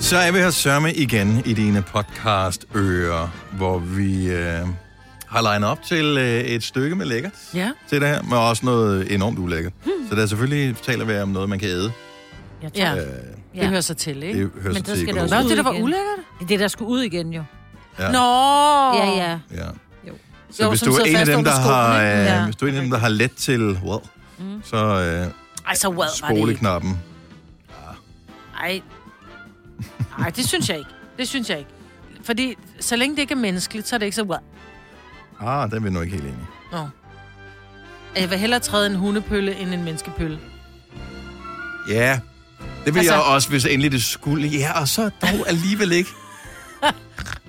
Så er vi her sørme igen i dine podcast-ører, hvor vi øh, har legnet op til øh, et stykke med lækkert Ja. til det her, men også noget enormt ulækkert. Hmm. Så der er selvfølgelig taler vi om noget, man kan æde. Jeg Ja. ja. Øh, Det hører sig til, ikke? det hører Men sig der til skal der økologisk. Nå, også- det der var Igen. ulækkert. Det er det, der skulle ud igen jo. Ja. Nå! Ja, ja. Ja. Jo. Så Jo, hvis som du, er sidder en af fast dem, under der skoen, har, øh, ikke? Ja. hvis du er en af dem, der har let til well, så øh, Ej, så well var det ikke. spoleknappen. Ej. Ej, det synes jeg ikke. Det synes jeg ikke. Fordi så længe det ikke er menneskeligt, så er det ikke så well. Ah, den er vi nu ikke helt enige. Nå. Jeg vil hellere træde en hundepølle end en menneskepølle. Ja, det vil altså, Altså- jeg også, hvis endelig det skulle. Ja, og så dog alligevel ikke.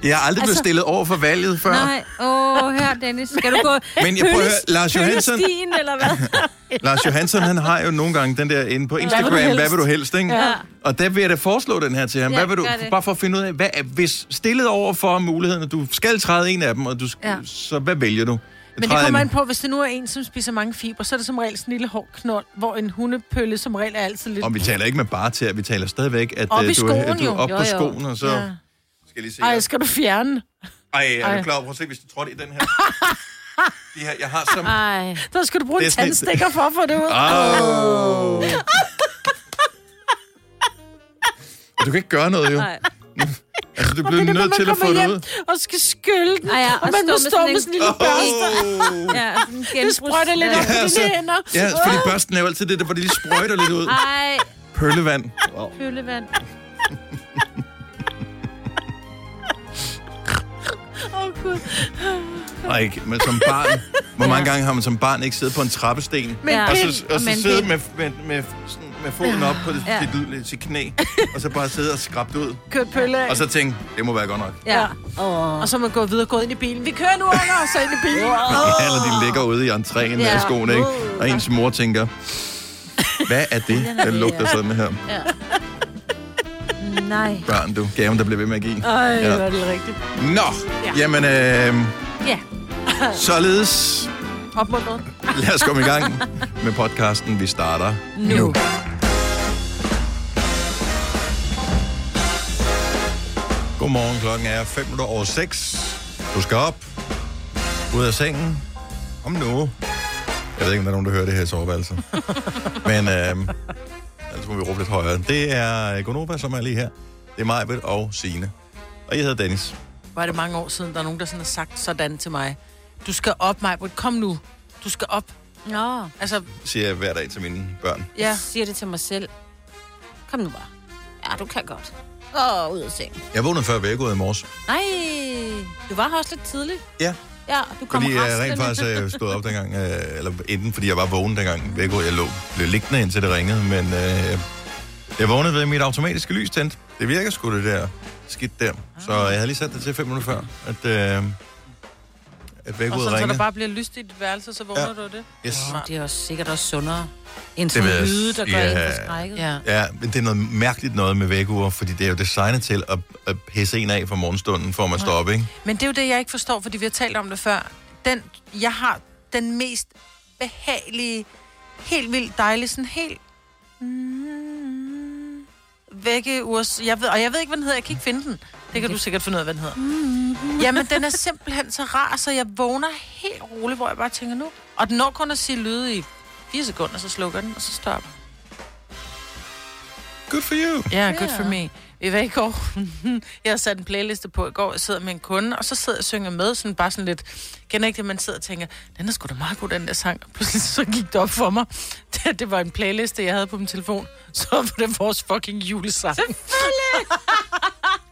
Jeg har aldrig altså, blevet Altså- stillet over for valget før. Nej, åh, oh, her Dennis. Skal du gå Men jeg prøver at høre, Lars Johansson, pølestien, eller hvad? Lars Johansson, han har jo nogle gange den der inde på Instagram, hvad vil du helst, ikke? Ja. Og der vil jeg da foreslå den her til ham. Ja, hvad vil du, gør det. bare for at finde ud af, hvad er, hvis stillet over for muligheden, at du skal træde en af dem, og du, ja. Ja. så hvad vælger du? Jeg Men det træder kommer en- an på, hvis det nu er en, som spiser mange fiber, så er det som regel sådan en lille hård knold, hvor en hundepølle som regel er altid lidt... Og vi taler ikke med bare til, at vi taler stadigvæk, at Op øh, i du, er- skoen du er jo. op Jo, på jo. skoen, og så ja. Ja. skal jeg lige se. Ej, her. skal du fjerne? Ej, er du Ej. klar over? Prøv at se, hvis du trådte i den her. De her, jeg har som... Ej. Der skal du bruge Det er en sådan et- tandstikker for at få det ud. Au. Og Du kan ikke gøre noget, jo. Nej. Altså, du Og det bliver er, når nødt man til at få kommer det hjem ud. og skal skylle den, Ej, ja, og, og man stå må med stå sådan med en- sådan en lille børste. Oh. Ja, sådan en Det genbrugs- sprøjter lidt op på Ja, så- dine hænder. Ja, fordi børsten er jo altid det der, hvor de lige sprøjter lidt ud. Ej, Pøllevand. pøllevand. Åh, Gud. Nej, ikke, men som barn. Hvor mange gange har man som barn ikke siddet på en trappesten? Men Ja. Og pind, så, og og så med en sidde pind. med, med, med, sådan, med foden op på det, Ja. sit, sit knæ, og så bare sidde og skrabe det ud. kørt pølle af. Og så tænke, det må være godt nok. Ja. Ja. Og så er man gået videre og gået ind i bilen. Vi kører nu under, og så ind i bilen. Ja, eller de ligger ude i entréen ja. Ja. af skoene, ikke? Og ens mor tænker, hvad er det, der lugter sådan her? Nej. Børn, du. Gaven, der bliver ved med at give. Ej, Ja. hvor er det rigtigt. Nå, jamen, øh, Ja. således Opmuntret. lad os komme i gang med podcasten. Vi starter nu. nu. Godmorgen, klokken er 5 minutter over 6. Du skal op, ud af sengen, om nu. Jeg ved ikke, om der er nogen, der hører det her i soveværelset. Men øh, ellers må vi råbe lidt højere. Det er Gonova, som er lige her. Det er Majbet og Sine. Og jeg hedder Dennis. Var det mange år siden, der er nogen, der sådan har sagt sådan til mig. Du skal op, Majbrit. Kom nu. Du skal op. Nå, Altså, Siger jeg hver dag til mine børn. ja. jeg siger det til mig selv. Kom nu bare. Ja, du kan godt. Åh, ud af seng. Jeg vågnede før vækket i morges. Nej, du var her også lidt tidligt. Ja, Ja, du kom Fordi jeg raslende. rent faktisk øh, stod op dengang, øh, eller inden, fordi jeg var vågen dengang. Jeg, jeg lå, blev liggende indtil det ringede, men øh, jeg vågnede ved at mit automatiske lys tændt. Det virker sgu det der skidt der. Så jeg havde lige sat det til 5 minutter før, at, øh, at Og vækkeudet sådan, så der ringede. bare bliver lyst i dit værelse, så vågner Ja. ja. du af det. Yes. Nå, Det er også sikkert også sundere end Det sådan ved en jeg lyde, s- der gør ja. yeah. en forskrækket. Ja. Ja, men det er noget mærkeligt noget med vækkeuger, fordi det er jo designet til at, at pisse en af fra morgenstunden, for at man står op, ikke? Men det er jo det, jeg ikke forstår, fordi vi har talt om det før. Den, jeg har den mest behagelige, helt vildt dejlige, sådan helt... Mm, vække urs... Jeg ved, og jeg ved ikke, hvad den hedder. Jeg kan ikke finde den. Det kan du sikkert finde ud af, hvad den hedder. Mm. Jamen, den er simpelthen så rar, så jeg vågner helt roligt, hvor jeg bare tænker nu. Og den når kun at sige lyde i 4 sekunder, så slukker den, og så stopper. Good for you. Ja, yeah, good for me. Vi var i går. jeg har sat en playliste på i går. Jeg sidder med en kunde, og så sidder jeg og synger med. Sådan bare sådan lidt... Kender ikke det, man sidder og tænker, den er sgu da meget god, den der sang. Og pludselig så gik det op for mig. Det, det var en playliste, jeg havde på min telefon. Så var det vores fucking julesang.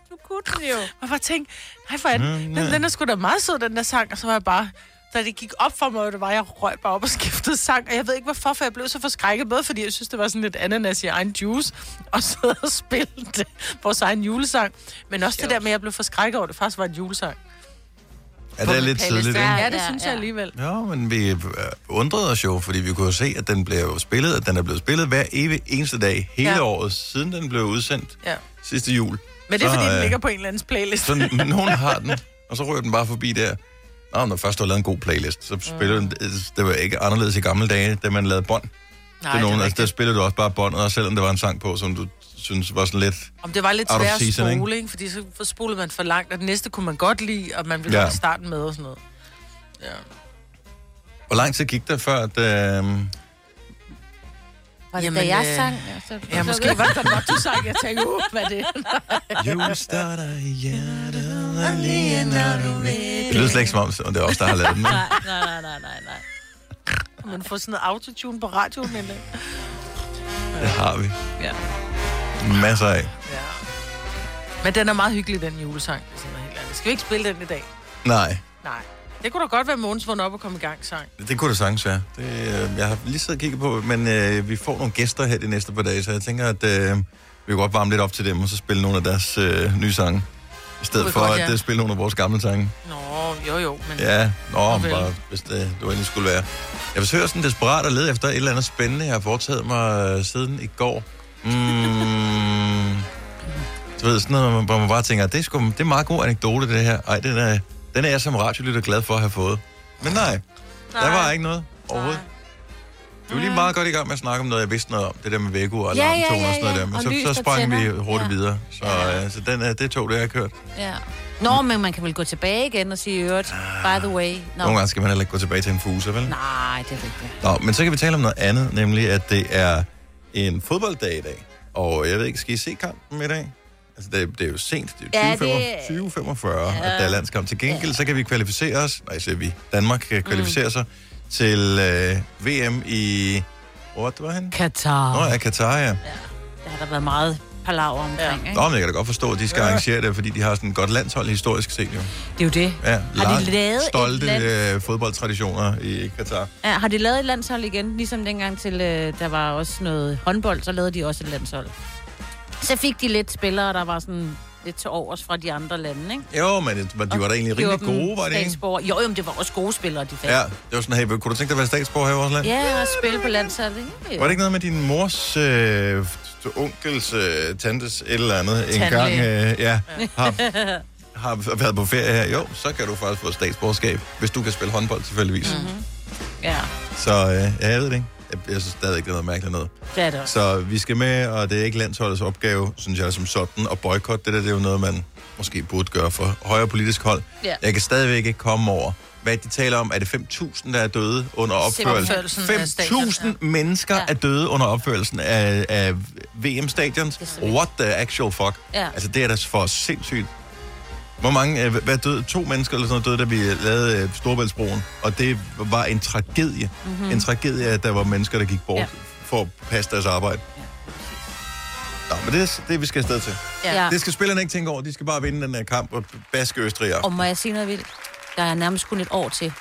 Du kunne den jo. Og jeg bare tænkte, nej for anden, den, den er sgu da meget sød, den der sang. Og så var jeg bare, da det gik op for mig, hvad det var, jeg røg bare op og skiftede sang. Og jeg ved ikke hvorfor, for jeg blev så forskrækket med, fordi jeg synes, det var sådan lidt ananas i egen juice. Og så og spille det, vores egen julesang. Men også det der med, at jeg blev forskrækket over, at det faktisk var en julesang. Ja, det er lidt tidligt, ikke? Ja, Ja, det ja, synes ja. jeg alligevel. Ja, men vi øh, undrede os jo, fordi vi kunne jo se, at den blev jo spillet, at den er blevet spillet hver evig eneste dag hele ja. Ja. året, siden den blev udsendt Ja. sidste jul. Men det er, Så, fordi øh, den ligger på en eller andens playlist. Så n- nogen har den, og så rører den bare forbi der. Mm. Nå, når først du har lavet en god playlist, så spiller den, det var ikke anderledes i gamle dage, da man lavede bånd. Nej, det er nogen, det, altså, der spiller du også bare båndet, og selvom der var en sang på, som du synes var sådan lidt... Om det var lidt Out of svært at season, ikke? spole, ikke? fordi så spolede man for langt, og den næste kunne man godt lide, og man ville Ja. ja. starte med og sådan noget. Ja. Hvor lang tid gik der før, at... Øh... Var det, Jamen, Jamen, da jeg øh, sang? Ja, så, Ja, måske var det godt nok, du sang, jeg tænkte, uh, hvad er det? Julen starter i hjertet, og lige når du ved... Det lyder slet ikke som om, og det er også der har lavet den. men- Nej, nej, nej, nej, nej, nej. Man får sådan noget autotune på radioen en dag. Det har vi. Ja. Masser af. ja. Men den er meget hyggelig, den julesang. hvis jeg må være helt ærlig. Skal vi ikke spille den i dag? Nej, Nej. Det kunne da godt være Mogens vågn op og komme i gang sang. det kunne det sagtens være. Det, øh, jeg har lige siddet og kigget på, men øh, vi får nogle gæster her de næste par dage, så jeg tænker, at øh, vi kan godt varme lidt op til dem, og så spille nogle af deres øh, nye sange. I Kunne stedet vi for godt, at ja. øh, spille nogle af vores gamle sange. Nå, jo jo, men ja. Ja, nå, vel. bare, hvis det, det var endelig skulle være. Jeg forsøger sådan desperat at lede efter et eller andet spændende, jeg har foretaget mig øh, siden i går. Mm, du ved, sådan noget, hvor man bare tænker, det er, sgu, det er en meget god anekdote, det her. Ej, den er, den er jeg som radiolytter glad for at have fået. Men nej, nej. der var ikke noget overhovedet. Vi var lige meget godt i gang med at snakke om noget, jeg vidste noget om. Det der med vækord og Mm. Ja, ja, alarmtoner og ja, sådan noget ja. der. Men Og lys, så, der så sprang vi tænder. hurtigt Ja. videre. Så, Ja. øh, så den, øh, det tog det, jeg har kørt. Ja. Nå, men man kan vel gå tilbage igen og sige, i øvrigt, by the way. Nå. Ah. Nogle gange skal man heller ikke gå tilbage til en fuser, vel? Nej, det er rigtigt. Nå, men så kan vi tale om noget andet, nemlig at det er en fodbolddag i dag. Og jeg ved ikke, skal I se kampen i dag? Altså, det, det er jo sent. Det er Ja, jo det- 20 45, ja, at der er landskamp. Til gengæld, så kan vi kvalificere os, nej, så vi, Danmark kan kvalificere Mm. sig til øh, VM i... Hvor var det, han? Katar. Nå, ja, Katar, ja. Der har der været meget palaver omkring, ja. ikke? Nå, men jeg kan da godt forstå, at de skal arrangere det, fordi de har sådan et godt landshold historisk set, jo. Det er jo det. Ja, har, lang- de lavet et stolte land... øh, fodboldtraditioner i Katar. ja, har de lavet et landshold igen? Ligesom dengang til, øh, der var også noget håndbold, så lavede de også et landshold. Så fik de lidt spillere, der var sådan lidt til overs fra de andre lande, ikke? Jo, men det- de var da egentlig rimelig gode, var det ikke? ikke? Jo, jo, men det var også gode spillere, de fik. Ja, det var sådan, hey, kunne du tænke dig at være statsborger her i vores land? ja og spille på landsholdet. Var det ikke noget med din mors, øh, onkels, øh, tantes, et eller andet, en gang Tandlæge. øh, ja, har, har været på ferie her? Jo, så kan du faktisk få statsborgerskab, hvis du kan spille håndbold tilfældigvis. Mm-hmm. Mhm. Ja, Så øh, ja, jeg ved det ikke. Jeg, jeg synes stadig ikke, det er noget mærkeligt noget. det er det også. Så vi skal med, og det er ikke landsholdets opgave, synes jeg, som sådan, at boykotte. Det der, det er jo noget, man måske burde gøre for højere politisk hold. Ja. Jeg kan stadigvæk ikke komme over, hvad de taler om. Er det 5.000, der er døde under opførelsen? Opførelsen af 5.000 stadion, mennesker Ja. er døde under opførelsen af, af VM-stadions. What the actual fuck? Ja. Altså, det er da for sindssygt. Hvor mange, øh, hvad døde, to mennesker eller sådan noget døde, da vi lavede øh, Storebæltsbroen, og det var en tragedie. Mm-hmm. En tragedie, at der var mennesker, der gik bort ja. Ja. for at passe deres arbejde. Nå, men det er det, vi skal afsted til. Ja. Det skal spillerne ikke tænke over. De skal bare vinde den her kamp og baske Østrig op. Og må jeg sige noget vildt? Der er nærmest kun et år til.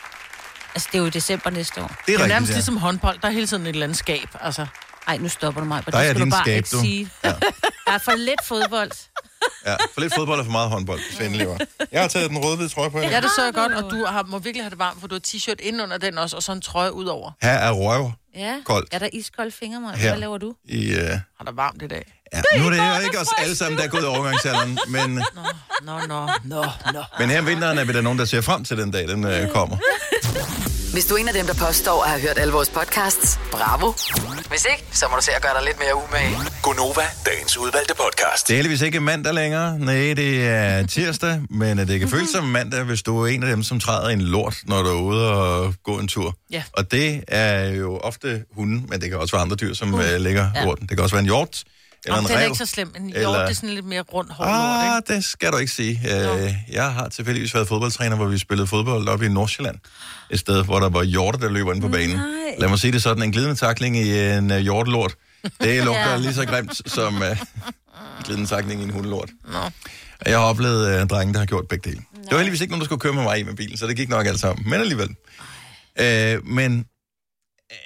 Altså, det er jo i december næste år. Det Det er er jo rigtigt, nærmest ja. ligesom håndbold, der er hele tiden et landskab, altså. Ej, nu stopper du mig. Der Der er det skal din du bare skab, ikke du. sige. Ja. Ja. Der er for lidt fodbold. ja. For lidt fodbold og for meget håndbold, Svend lever. Jeg har taget den rødhvide trøje på. Ja, Ja. det så jeg godt, og du har, må virkelig have det varmt, for du har t-shirt ind under den også, og så en trøje ud over. Her er røv Ja. Koldt. Er der iskolde fingre, mig? Her. Hvad laver du? i... Øh, Har der varmt i dag? Ja, nu er det jo ikke os alle sammen, der er gået i overgangsalderen, men, Nå, nå, nå, nå. men her om vinteren er vi der nogen, der ser frem til den dag, den øh, kommer. Hvis du er en af dem, der påstår at have hørt alle vores podcasts, bravo. Hvis ikke, så må du se at gøre dig lidt mere umage. Gonova, dagens udvalgte podcast. Det er heldigvis ikke mandag længere. Nej, det er tirsdag, men øh, det kan føles som mandag, hvis du er en af dem, som træder i en lort, når du er ude og går en tur. Ja. Og det er jo ofte hunde, men det kan også være andre dyr, som uh, lægger ja. lorten. Det kan også være en hjort, eller Om en den er ræv. ikke så slem, men jo, eller- det er sådan lidt mere rundt hård lort, Ah, ikke? det skal du ikke sige. Øh, jeg har tilfældigvis været fodboldtræner, hvor vi spillede fodbold oppe i Nordsjælland. Et sted, hvor der var hjorte, der løber ind på banen. Nej. Lad mig sige det sådan, en glidende takling i en uh, hjortelort, det lugter lige så grimt som uh, glidende takling i en hundelort. Nå. Jeg har oplevet uh, drenge, der har gjort begge dele. Nej. Det var heldigvis ikke nogen, der skulle køre med mig i med bilen, så det gik nok alt sammen. Men alligevel. Øh, men øh,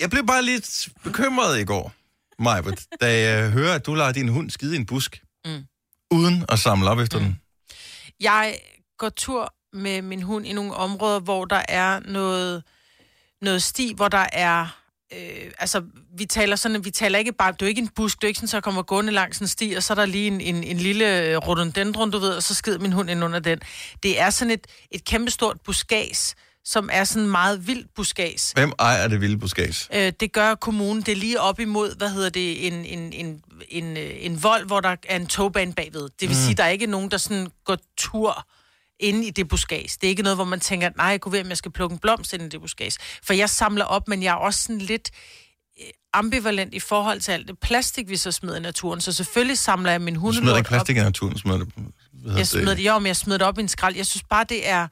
jeg blev bare lidt bekymret i går, Majbert, da jeg hører, at du lader din hund skide i en busk Mm. uden at samle op efter mm. den. Jeg går tur med min hund i nogle områder, hvor der er noget, noget sti, hvor der er... Øh, altså, vi taler sådan, vi taler ikke bare, det er jo ikke en busk, det er jo ikke sådan, så jeg kommer gående langs en sti, og så er der lige en, en, en lille øh, rhododendron, du ved, og så skider min hund ind under den. Det er sådan et, et kæmpestort buskads, som er sådan meget vildt buskads. Hvem ejer det vilde buskads? Øh, det gør kommunen. Det er lige op imod, hvad hedder det, en, en, en, en, øh, en vold, hvor der er en togbane bagved. Det vil mm. sige, der er ikke nogen, der sådan går tur inde i det buskads. Det er ikke noget, hvor man tænker, nej, jeg kunne være, om jeg skal plukke en blomst ind i det buskads. For jeg samler op, men jeg er også sådan lidt øh, ambivalent i forhold til alt det plastik, vi så smider i naturen. Så selvfølgelig samler jeg min Du smider hundelort ikke op. plastik i naturen, smider det... Hvad Jeg smider det, jo, men jeg smider det op i en skrald. Jeg synes bare, det er...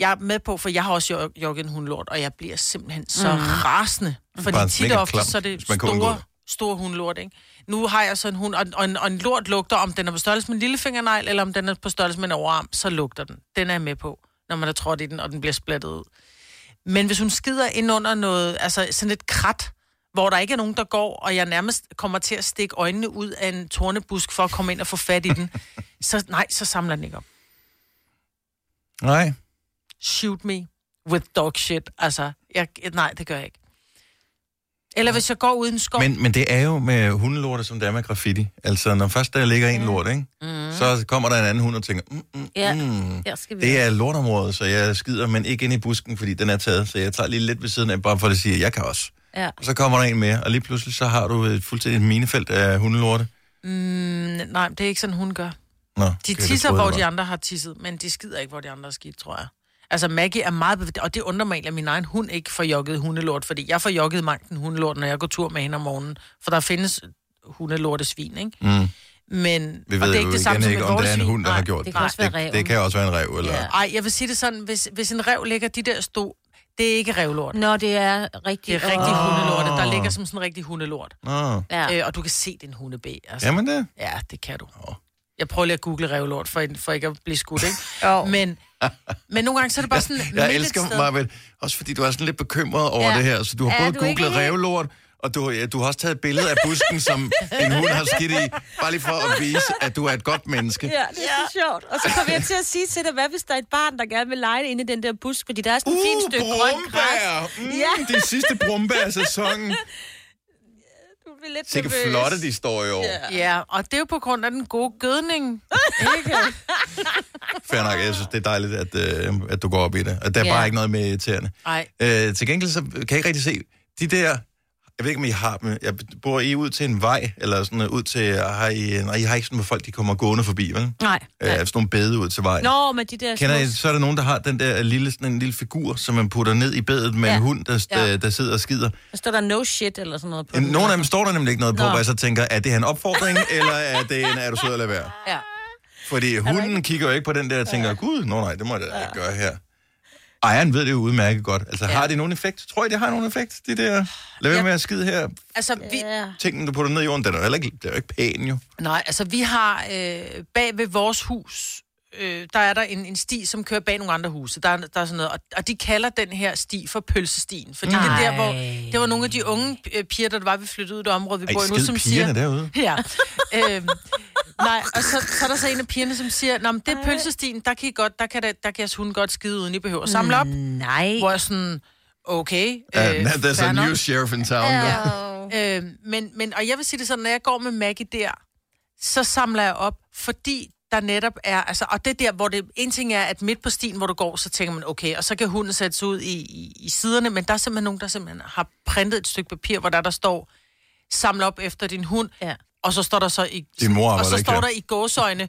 Jeg er med på, for jeg har også jog- jogget en hundlort, og jeg bliver simpelthen så mm. rasende. Fordi Bare tit mega og ofte, klam, så er det hvis man kan undgå store, det. store hundlort, ikke? Nu har jeg så en hund, og, og, en, og en lort lugter, om den er på størrelse med en lillefingernegl, eller om den er på størrelse med en overarm, så lugter den. Den er jeg med på, når man er trådt i den, og den bliver splattet ud. Men hvis hun skider ind under noget, altså sådan et krat, hvor der ikke er nogen, der går, og jeg nærmest kommer til at stikke øjnene ud af en tornebusk for at komme ind og få fat i den, så nej, så samler den ikke op. Nej. Shoot me with dog shit. Altså, jeg, nej, det gør jeg ikke. Eller hvis jeg går uden skov, Men... Men, men det er jo med hundelorte, som det er med graffiti. Altså, når først der ligger en lort, ikke? Mm. så kommer der en anden hund og tænker, mm, mm, Ja, mm. der skal vi. det er lortområdet, så jeg skider, men ikke ind i busken, fordi den er taget. Så jeg tager lige lidt ved siden af, bare for at sige, at jeg kan også. Ja. Og så kommer der en med, og lige pludselig så har du et fuldstændig et minefelt af hundelorte. Mm, nej, det er ikke sådan, hun gør. Nå, De okay, det tisser, troede hvor jeg de var. andre har tisset, men de skider ikke, hvor de andre har skidt, tror jeg. Altså, Maggie er meget bevidst, og det undrer mig egentlig, at min egen hund ikke får jogget hundelort, fordi jeg får jogget magten hundelort, når jeg går tur med hende om morgenen, for der findes hundelorte svin, ikke? Mm. Men, Vi og ved det er jo ikke det igen samme som ikke, et om det er en vortesvin. hund, der Nej. har gjort det kan også være det, ræven. det kan også være en rev, eller... Ja. Ej, jeg vil sige det sådan, hvis, hvis en rev ligger de der stå, det er ikke revlort. Nå, det er rigtig... Det er rigtig Åh. oh. hundelort, der ligger som sådan en rigtig hundelort. Nå, Ja. Ja. Øh, og du kan se din hundebæ. Altså. jamen det. Ja. ja, det kan du. Jeg prøver lige at google revlort, for, for ikke at blive skudt, ikke? Jo. men, men nogle gange, så er det bare sådan... midt Jeg et elsker sted. mig, vel, også fordi du er sådan lidt bekymret over ja. Ja. det her. Så du har Er både du ikke googlet helt- revlort, og du, ja, du har også taget et billede af busken, som en hund har skidt i, bare lige for at vise, at du er et godt menneske. Ja, det er så sjovt. Og så kom jeg til at sige til dig, hvad hvis der er et barn, der gerne vil lege inde i den der busk, fordi der er sådan et Uh, fint stykke grønt græs. brumbær! Mm, Ja. De sidste brumbær af sæsonen. Du bliver lidt Sikke nervøs. flotte de står i år. Yeah. Ja, og det er jo på grund af den gode gødning. Fair nok, jeg synes, det er dejligt, at, øh, at du går op i det. Og der er Ja. bare ikke noget med irriterende. Nej. Øh, til gengæld så kan jeg ikke rigtig se, de der, jeg ved ikke, om I har dem, jeg bor I ud til en vej, eller sådan øh, ud til, har I, nej, I har ikke sådan, hvor folk de kommer gående forbi, vel? Nej. Øh, sådan nogle bede ud til vejen. Nå, men de der Kender I, små... så er der nogen, der har den der lille, sådan en lille figur, som man putter ned i bedet med ja. Ja. en hund, der, ja. Ja. der sidder og skider. Der står der no shit eller sådan noget på den. Nogle af dem står der nemlig ikke noget på, Nå. hvor jeg så tænker, er det her en opfordring, eller er det en, er du sød at lade være? Ja. Fordi hunden kigger jo ikke på den der og tænker, gud, nå nej, det må jeg da ikke gøre her. Ejeren ved det jo udmærket godt. Altså, har det nogen effekt? Tror I, det har nogen effekt? Det der, lad være med at skide her. Altså, vi, Ja. Tingene, du putter ned i jorden, den er jo heller ikke, det er jo ikke pæn jo. Nej, altså vi har øh, bag ved vores hus, øh, der er der en, en sti, som kører bag nogle andre huse. Der, er- der er sådan noget, og, og de kalder den her sti for pølsestien. Fordi Nej. det er der, hvor det var nogle af de unge øh, piger, der var, vi flyttede ud i det område, vi Ej, bor i nu, skid som pigerne siger... derude. Ja. øhm, nej, og så, så er der så en af pigerne, som siger, Nå, men det er pølsestien, der kan, I godt, der kan, der, der kan jeres hund godt skide, uden I behøver at samle op. Nej. Hvor jeg sådan, okay, Uh, øh, there's fair a nok. new sheriff in town. Ja. Øh, men, men, og jeg vil sige det sådan, når jeg går med Maggie der, så samler jeg op, fordi der netop er, altså, og det er der, hvor det, en ting er, at midt på stien, hvor du går, så tænker man, okay, og så kan hunden sætte sig ud i, i, i siderne, men der er simpelthen nogen, der simpelthen har printet et stykke papir, hvor der, der står, samle op efter din hund, Ja. og så står der så i, Din mor arbejder og så ikke står her. der i gåsøjne,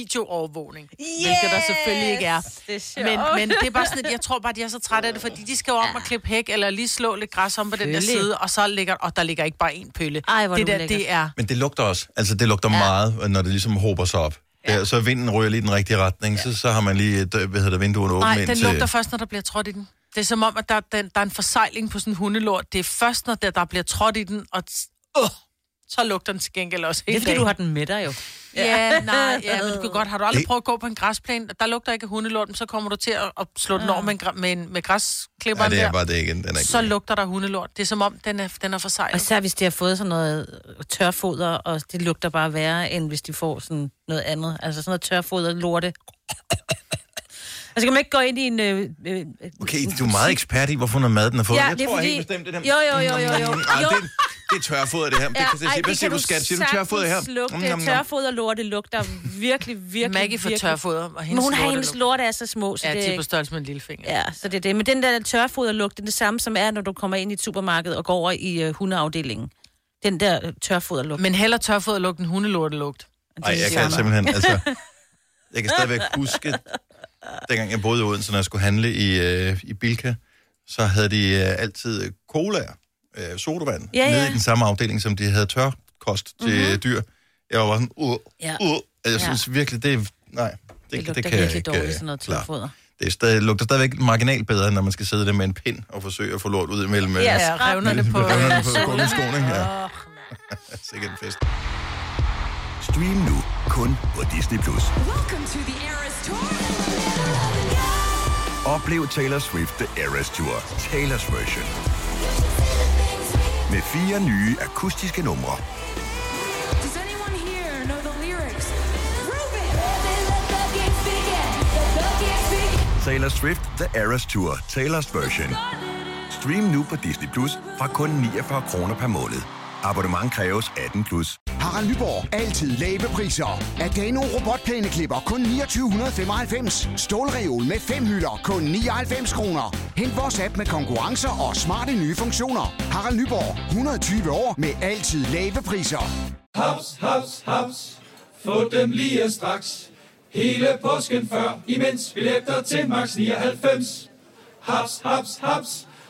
videoovervågning, yes! hvilket der selvfølgelig ikke er. Det er sjovt. Men, men det er bare sådan, at jeg tror bare, de er så trætte af det, fordi de skal jo om og klippe hæk, eller lige slå lidt græs om på den der Pølle. side, og så ligger, og der ligger ikke bare en pølle. Ej, hvor er det det der, det er, Men det lugter også. Altså, det lugter ja. meget, når det ligesom håber sig op. Ja. Så vinden ryger lige i den rigtige retning, ja. så, så har man lige et, øh, hvad hedder det, vinduerne åbne nej, ind den til... lugter først, når der bliver trådt i den. Det er som om, at der, den, der er en forsejling på sådan en hundelort. Det er først, når der, der bliver trådt i den, og t- åh, så lugter den til gengæld også Det hele er, fordi dagen. du har den med dig jo. Ja, nej, ja, men du kan godt. Har du aldrig Det- prøvet at gå på en græsplæne, der lugter ikke af hundelort, men så kommer du til at, at slå den Ah. over med, en, gra- med, en, med Ja, græsklipperen det er der. bare det igen. Den er Så ikke... lugter der hundelort. Det er som om, den er, den er forsejlet. Og så hvis de har fået sådan noget øh, tørfoder, og det lugter bare værre, end hvis de får sådan noget andet. Altså sådan noget tørfoder, lorte. altså kan man ikke gå ind i en... Øh, øh, Okay, du er meget ekspert i, hvorfor noget mad den har fået. Ja, jeg det er tror fordi- helt bestemt, det der... Jo, jo, jo, jo, jo. Mm, ej, Jo. Det, det er tørfoder, det her. Det kan, ja, ej, hvad siger du, skat? Siger du tørfoder her? Lugte. Mm, nom, nom. Tørfoder lorte lugter virkelig, virkelig, Maggie får virkelig. tørfoder, og hendes Men hun har lorte hendes lugter. lorte er så små, så Ja, det de er er på ikke- størrelse med en lillefinger. Ja, så det er det. Men den der tørfoderlugt, det er det samme, som er, når du kommer ind i et supermarked og går over i øh, hundeafdelingen. Den der øh, tørfoderlugt. Men heller tørfoderlugt end hundelortelugt. Nej, jeg kan simpelthen, altså... Jeg kan stadigvæk huske, dengang jeg boede i Odense, når jeg skulle handle i, øh, i Bilka, så havde de øh, altid cola, øh, sodavand, Ja, nede ja. Mhm. i den samme afdeling, som de havde tørkost til mm-hmm. dyr. Jeg var bare sådan, uh, Ja. uh, og jeg Ja. synes virkelig, det er... Nej, det, Det det, lugter det kan jeg virkelig ikke dårligt, øh, sådan noget klare. tørfoder. Det er stadig, lugter stadigvæk marginalt bedre, end når man skal sidde der med en pind og forsøge at få lort ud imellem øh, Ja, Ja, revnerne på... revnerne på gummiskoene. Ja. Sikkert en fest. Stream nu kun på Disney+. Plus. Oplev Taylor Swift The Eras Tour, Taylor's version. Med fire nye akustiske numre. Does anyone here know the lyrics? Taylor Swift The Eras Tour, Taylor's version. Stream nu på Disney Plus fra kun 49 kroner per måned. Abonnement kræves 18 plus. Harald Nyborg. Altid lave priser. Adano robotplæneklipper kun 2995. Stålreol med fem hylder kun 99 kroner. Hent vores app med konkurrencer og smarte nye funktioner. Harald Nyborg. 120 år med altid lave priser. Haps, haps, haps. Få dem lige straks. Hele påsken før, imens billetter til max 99. Haps, haps, haps.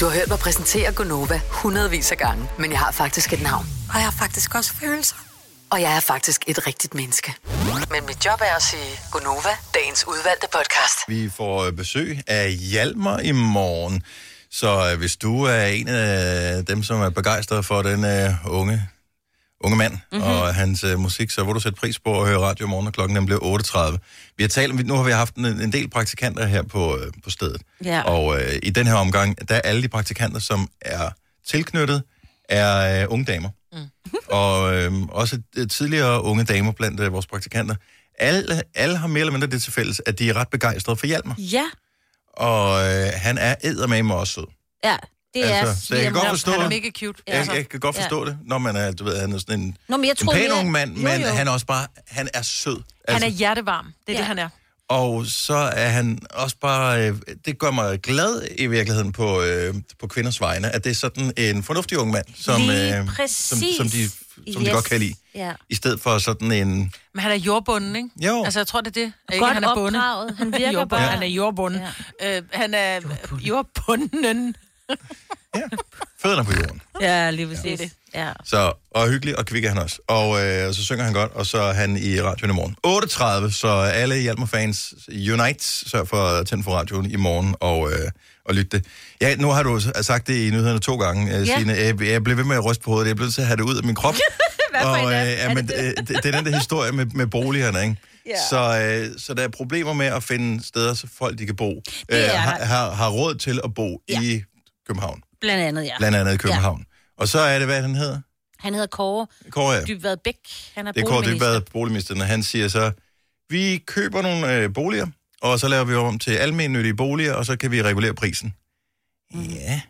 Du har hørt mig præsentere Gonova hundredvis af gange, men jeg har faktisk et navn. Og jeg har faktisk også følelser. Og jeg er faktisk et rigtigt menneske. Men mit job er at sige Gonova, dagens udvalgte podcast. Vi får øh, besøg af Hjalmar i morgen. Så øh, hvis du er en af øh, dem, som er begejstret for den øh, unge, unge mand mm-hmm. og hans øh, musik, så vil du sætte pris på at høre radio i morgen, og klokken den bliver 8.30. Vi har talt, om- nu har vi haft en, en del praktikanter her på, øh, på stedet. Ja. Og øh, i den her omgang, der er alle de praktikanter, som er tilknyttet, er øh, unge damer. Mm. og øh, også øh, tidligere unge damer blandt øh, vores praktikanter. Alle, alle har mere eller mindre det til fælles, at de er ret begejstrede for Hjalmar. Ja, Og øh, han er eddermame også sød. ja. Det er Altså, så jeg kan svigermor. godt forstå Han er det. mega cute. Ja. Jeg, jeg kan godt forstå ja. det, når man er, du ved, han er sådan en, Nå, men jeg en troede pæn mere- ung mand, Jo, men jo. han er også bare, han er sød. Han er hjertevarm. Det er Ja. det, han er. Og så er han også bare, øh, det gør mig glad i virkeligheden på, øh, på kvinders vegne, at det er sådan en fornuftig ung mand, som, øh, Lige som, præcis. som, de, som yes. de Yes. godt kan lide. Ja. I stedet for sådan en, Men han er jordbunden, ikke? Jo. Altså, jeg tror, det er det. Ikke, Godt han er bundet. opdraget. Han virker Jordbunden. bare- Han er jordbunden. Ja. Øh, han er jordbunden. ja, fødderne på jorden. Ja, lige præcis. Ja. Ja. Så, og hyggelig, og kvik er han også. Og øh, så synger han godt, og så er han i radioen i morgen. 8.30, så alle Hjalmar-fans unite, sørg for at tænde for radioen i morgen og, øh, og lytte det. Ja, nu har du s- sagt det i nyhederne to gange, øh, Ja. Signe. Jeg, jeg blev ved med at ryste på hovedet, jeg blev nødt til at have det ud af min krop. Hvad for en og, af øh, dem? ja, Er men, det øh, det, det er den der historie med, med boligerne, ikke? Ja. Så, øh, så der er problemer med at finde steder, så folk de kan bo. øh, er der. har, har, har råd til at bo ja. i København. Blandt andet, ja. Blandt andet i København. Ja. Og så er det, hvad han hedder? Han hedder Kåre Kåre, ja. Dybvad Bæk. Han er, Det er Kåre boligminister. Dybvad, boligministeren, og han siger så, vi køber nogle øh, boliger, og så laver vi om til almennyttige boliger, og så kan vi regulere prisen. Ja,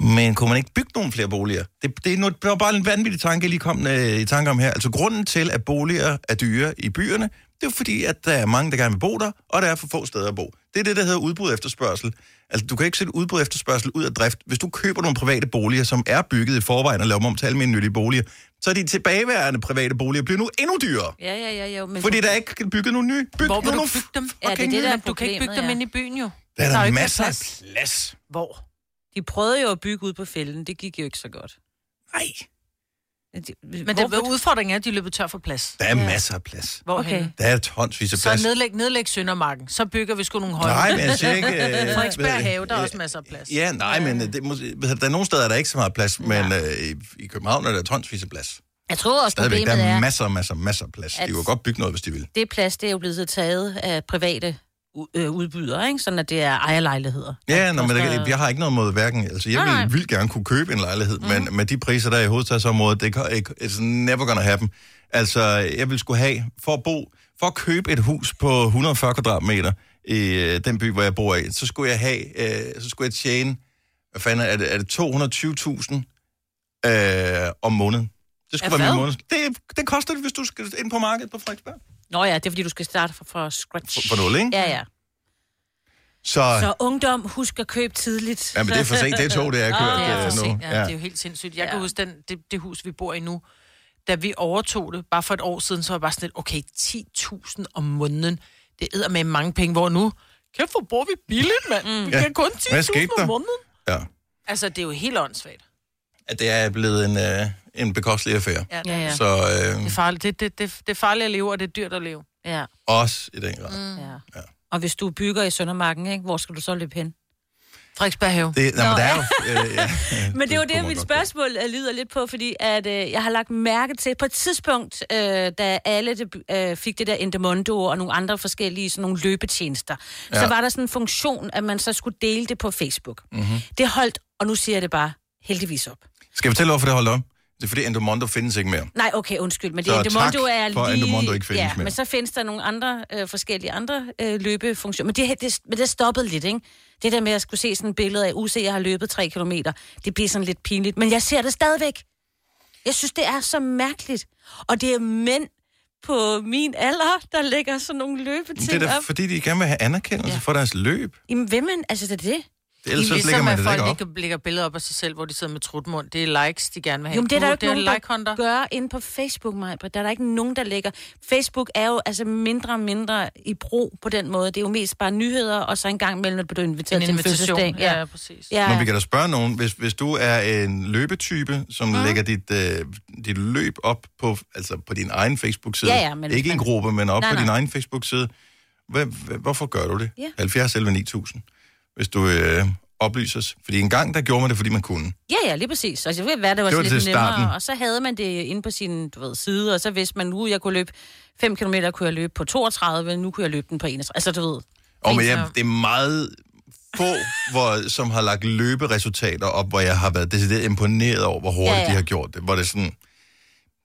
men kunne man ikke bygge nogle flere boliger? Det, det, er noget, det var bare en vanvittig tanke, jeg lige kom øh, i tanke om her. Altså grunden til, at boliger er dyre i byerne, det er jo fordi, at der er mange, der gerne vil bo der, og der er for få steder at bo. Det er det, der hedder udbud og efterspørgsel. Altså, du kan ikke sætte udbud og efterspørgsel ud af drift. Hvis du køber nogle private boliger, som er bygget i forvejen og laver dem om til almindelige boliger, så er de tilbageværende private boliger bliver nu endnu dyrere. Ja, ja, ja. Jo, men Fordi der er ikke bygget nogen nye. Byg Hvor vil nogle du f- bygge dem? Ja, det er Fucking det, der er men Du kan ikke bygge problemet, dem ja. ind i byen, jo. Der er jo der, ikke masser af plads. plads. Hvor? De prøvede jo at bygge ud på fælden. Det gik jo ikke så godt. Nej. De, Men det, udfordringen er, at de løber tør for plads. Der er masser af plads. Hvorhen? Okay. Okay. Der er tonsvis af plads. Så nedlæg, nedlæg Søndermarken. Så bygger vi sgu nogle høje. Nej, men jeg siger ikke... Øh, Frederiksberg hvad- Have, der er også masser af plads. Ja, nej, men øh, det, må, ved du, der er nogle steder, der er ikke så meget plads, men øh, i, i København er der tonsvis af plads. Jeg tror også, Stadigvæk, der problemet er er, masser, masser, masser af plads. at- De kunne godt bygge noget, hvis de ville. det plads, det er jo blevet taget af private u- øh, udbydere, ikke? Sådan at det er ejerlejligheder. Ja, nå, men der, jeg har ikke noget mod hverken. Altså, jeg Nej, nej. vil vildt gerne kunne købe en lejlighed, mm. men med de priser, der er i hovedstadsområdet, det kan ikke, it's never gonna happen. Altså, jeg vil skulle have, for at bo, for at købe et hus på 140 kvadratmeter i øh, den by, hvor jeg bor i, så skulle jeg have, øh, så skulle jeg tjene, hvad fanden er det, er det 220.000 øh, om måneden. Det skulle Ja, være min hvad? måned. Det, det koster det, hvis du skal ind på markedet på Frederiksberg. Nå ja, det er fordi, du skal starte fra, fra scratch. Fra- fra nul, ikke? Ja, ja. Så, Så ungdom, husk at købe tidligt. Ja, men det er for sent. Det tog, det er kørt, Ah, det er øh, for nu. sent. Ja, Ja. det er jo helt sindssygt. Jeg kan huske den, det, det hus, vi bor i nu, da vi overtog det, bare for et år siden, så var jeg bare sådan lidt, okay, 10.000 om måneden, det æder med mange penge, hvor nu, kæft, hvor bor vi billigt, mand. Mm. Vi Ja. kan kun Hvad skete 10.000 der? om måneden. Ja. Altså, det er jo helt åndssvagt. at det er blevet en, øh, en bekostelig affære. Ja, det er det. Så øh, Det er farligt, det, det, det, det er farligt at leve, og det er dyrt at leve. Ja. også i den grad. Mm. Ja. ja. Og hvis du bygger i Søndermarken, ikke? hvor skal du så løbe hen? Frederiksberg Have. Det, nej, Nå, men der er jo... ja. Øh, ja. Men det er jo kunne det, man mit godt spørgsmål øh, lyder lidt på, fordi at, øh, jeg har lagt mærke til, på et tidspunkt, øh, da alle det, øh, fik det der Endemondo og nogle andre forskellige sådan nogle løbetjenester, ja. så Ja. var der sådan en funktion, at man så skulle dele det på Facebook. Mhm. Det holdt, og nu siger jeg det bare, heldigvis op. Skal jeg fortælle, hvorfor det holdt op? Det er fordi Endomondo findes ikke mere. Nej, okay, undskyld, men det Så Endemondo tak er for, at lige... Endomondo ikke findes ja, mere. men så findes der nogle andre øh, forskellige andre øh, løbefunktioner. Men det, det, men det stoppede lidt, ikke? Det der med at skulle se sådan et billede af, UC, jeg har løbet 3 km, det bliver sådan lidt pinligt. Men jeg ser det stadigvæk. Jeg synes, det er så mærkeligt. Og det er mænd på min alder, der lægger sådan nogle Men løbeting Det er da op. fordi, de gerne vil have anerkendelse ja. for deres løb. Jamen, hvem man, altså det er det? Ellers så lægger man det ligesom, da folk ikke op. ikke lægger billeder op af sig selv, hvor de sidder med trutmund. Det er likes, de gerne vil have. Jo, men det er der jo ikke det er nogen, like der gør inde på Facebook, Maja. Der er der ikke nogen, der lægger... Facebook er jo altså mindre og mindre i brug på den måde. Det er jo mest bare nyheder, og så en gang imellem, når du er inviteret En til en invitation. fødselsdag. Ja, ja, præcis. Ja, Men vi ja. kan da spørge nogen, hvis, hvis du er en løbetype, som Mhm. mm. lægger dit, øh, dit løb op på, altså på din egen Facebook-side. Ja, ja, men- ikke i en gruppe, men op Nej, nej, på din nej. egen Facebook-side. Hvad, hvad, hvorfor gør du det? Ja. 70 11 9000, hvis du øh, oplyses. Fordi en gang, der gjorde man det, fordi man kunne. ja, ja, lige præcis. Altså, det kan være, det var, Det det var var lidt til nemmere, starten. og så havde man det inde på sin du ved, side, og så vidste man, nu jeg kunne løbe 5 km, kunne jeg løbe på 32, nu kunne jeg løbe den på 31. Altså, du ved. Og men Fint, jeg, så- det er meget få, hvor, som har lagt løberesultater op, hvor jeg har været decideret imponeret over, hvor hurtigt ja, Ja, ja. ja. de har gjort det. Hvor det er sådan,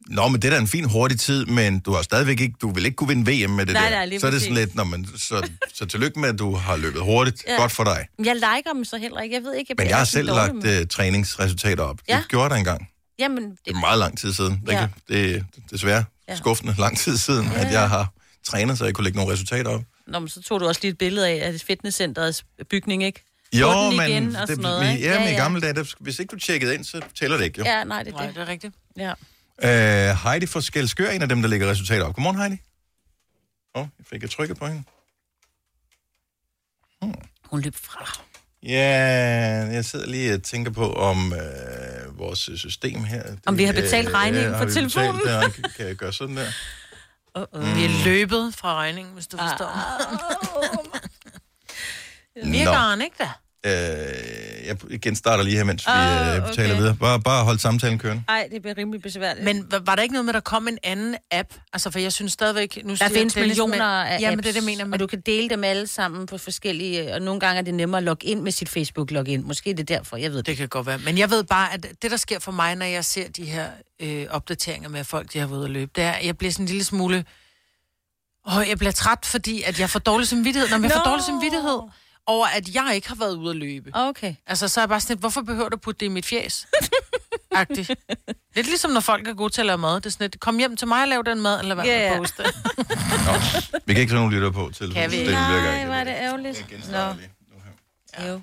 Nå, men det er da en fin hurtig tid, men du har stadigvæk ikke, du vil ikke kunne vinde VM med det Nej, der. nej, lige så er det præcis. sådan lidt, Nå, men, så, så tillykke med, at du har løbet hurtigt. Ja. Ja. Godt for dig. Men Jeg liker dem så heller ikke. Jeg ved ikke, jeg Men bliver jeg har altid selv dårlig lagt med- uh, træningsresultater op. Ja. Ja. Det gjorde der engang. Jamen, Det er meget lang tid siden. Ja. Ja. Det er desværre ja. skuffende lang tid siden, ja. at jeg har trænet, så jeg kunne lægge nogle resultater op. Nå, men så tog du også lige et billede af at fitnesscenterets bygning, ikke? Få Jo, den men igen og sådan noget, men- ikke? ja, men i gamle dage, der, hvis ikke du tjekkede ind, så tæller det ikke, jo. Ja, nej, det er det. det er rigtigt. Ja. Øh, Heidi fra Skelskør er en af dem, der lægger resultater op. Godmorgen, Heidi. Åh, oh, jeg fik jeg trykket på hende. Hun løb fra. Ja, jeg sidder lige og tænker på, om øh, vores system her... Det, øh, Om vi har betalt regningen har for vi telefonen? Betalt, der, kan jeg gøre sådan der? Uh-uh. Ah. Vi er løbet fra regningen, hvis du forstår. Virkeren, ikke da? Øh, jeg igen starter lige her, mens vi Ah, øh, taler okay. videre. Bare, bare hold samtalen kørende. Nej, det bliver rimelig besværligt. Men var, var der ikke noget med, at der kom en anden app? Altså, for jeg synes stadigvæk... Nu Der findes millioner af Ja, apps, men det er det, jeg mener. Men og du kan dele dem alle sammen på forskellige, og nogle gange er det nemmere at logge ind med sit Facebook-login. Måske er det derfor, jeg ved det. Det kan godt være. Men jeg ved bare, at det, der sker for mig, når jeg ser de her øh, opdateringer med folk, de har været ude at løbe, det er, at jeg bliver sådan en lille smule... Åh, jeg bliver træt, fordi at jeg får dårlig samvittighed. Når jeg no. får Nå. dårlig samvittighed over, at jeg ikke har været ude at løbe. Ah, Okay. Altså, så er jeg bare sådan lidt, hvorfor behøver du at putte det i mit fjes? Agtigt. Lidt ligesom, når folk er gode til at lave mad. Det er sådan lidt, kom hjem til mig og lav den mad, eller hvad Ja, yeah. ja. man poster. Vi kan ikke tage nogen lytter på til. Kan vi ikke? Nej, hvor er det ærgerligt. Nå. Jo.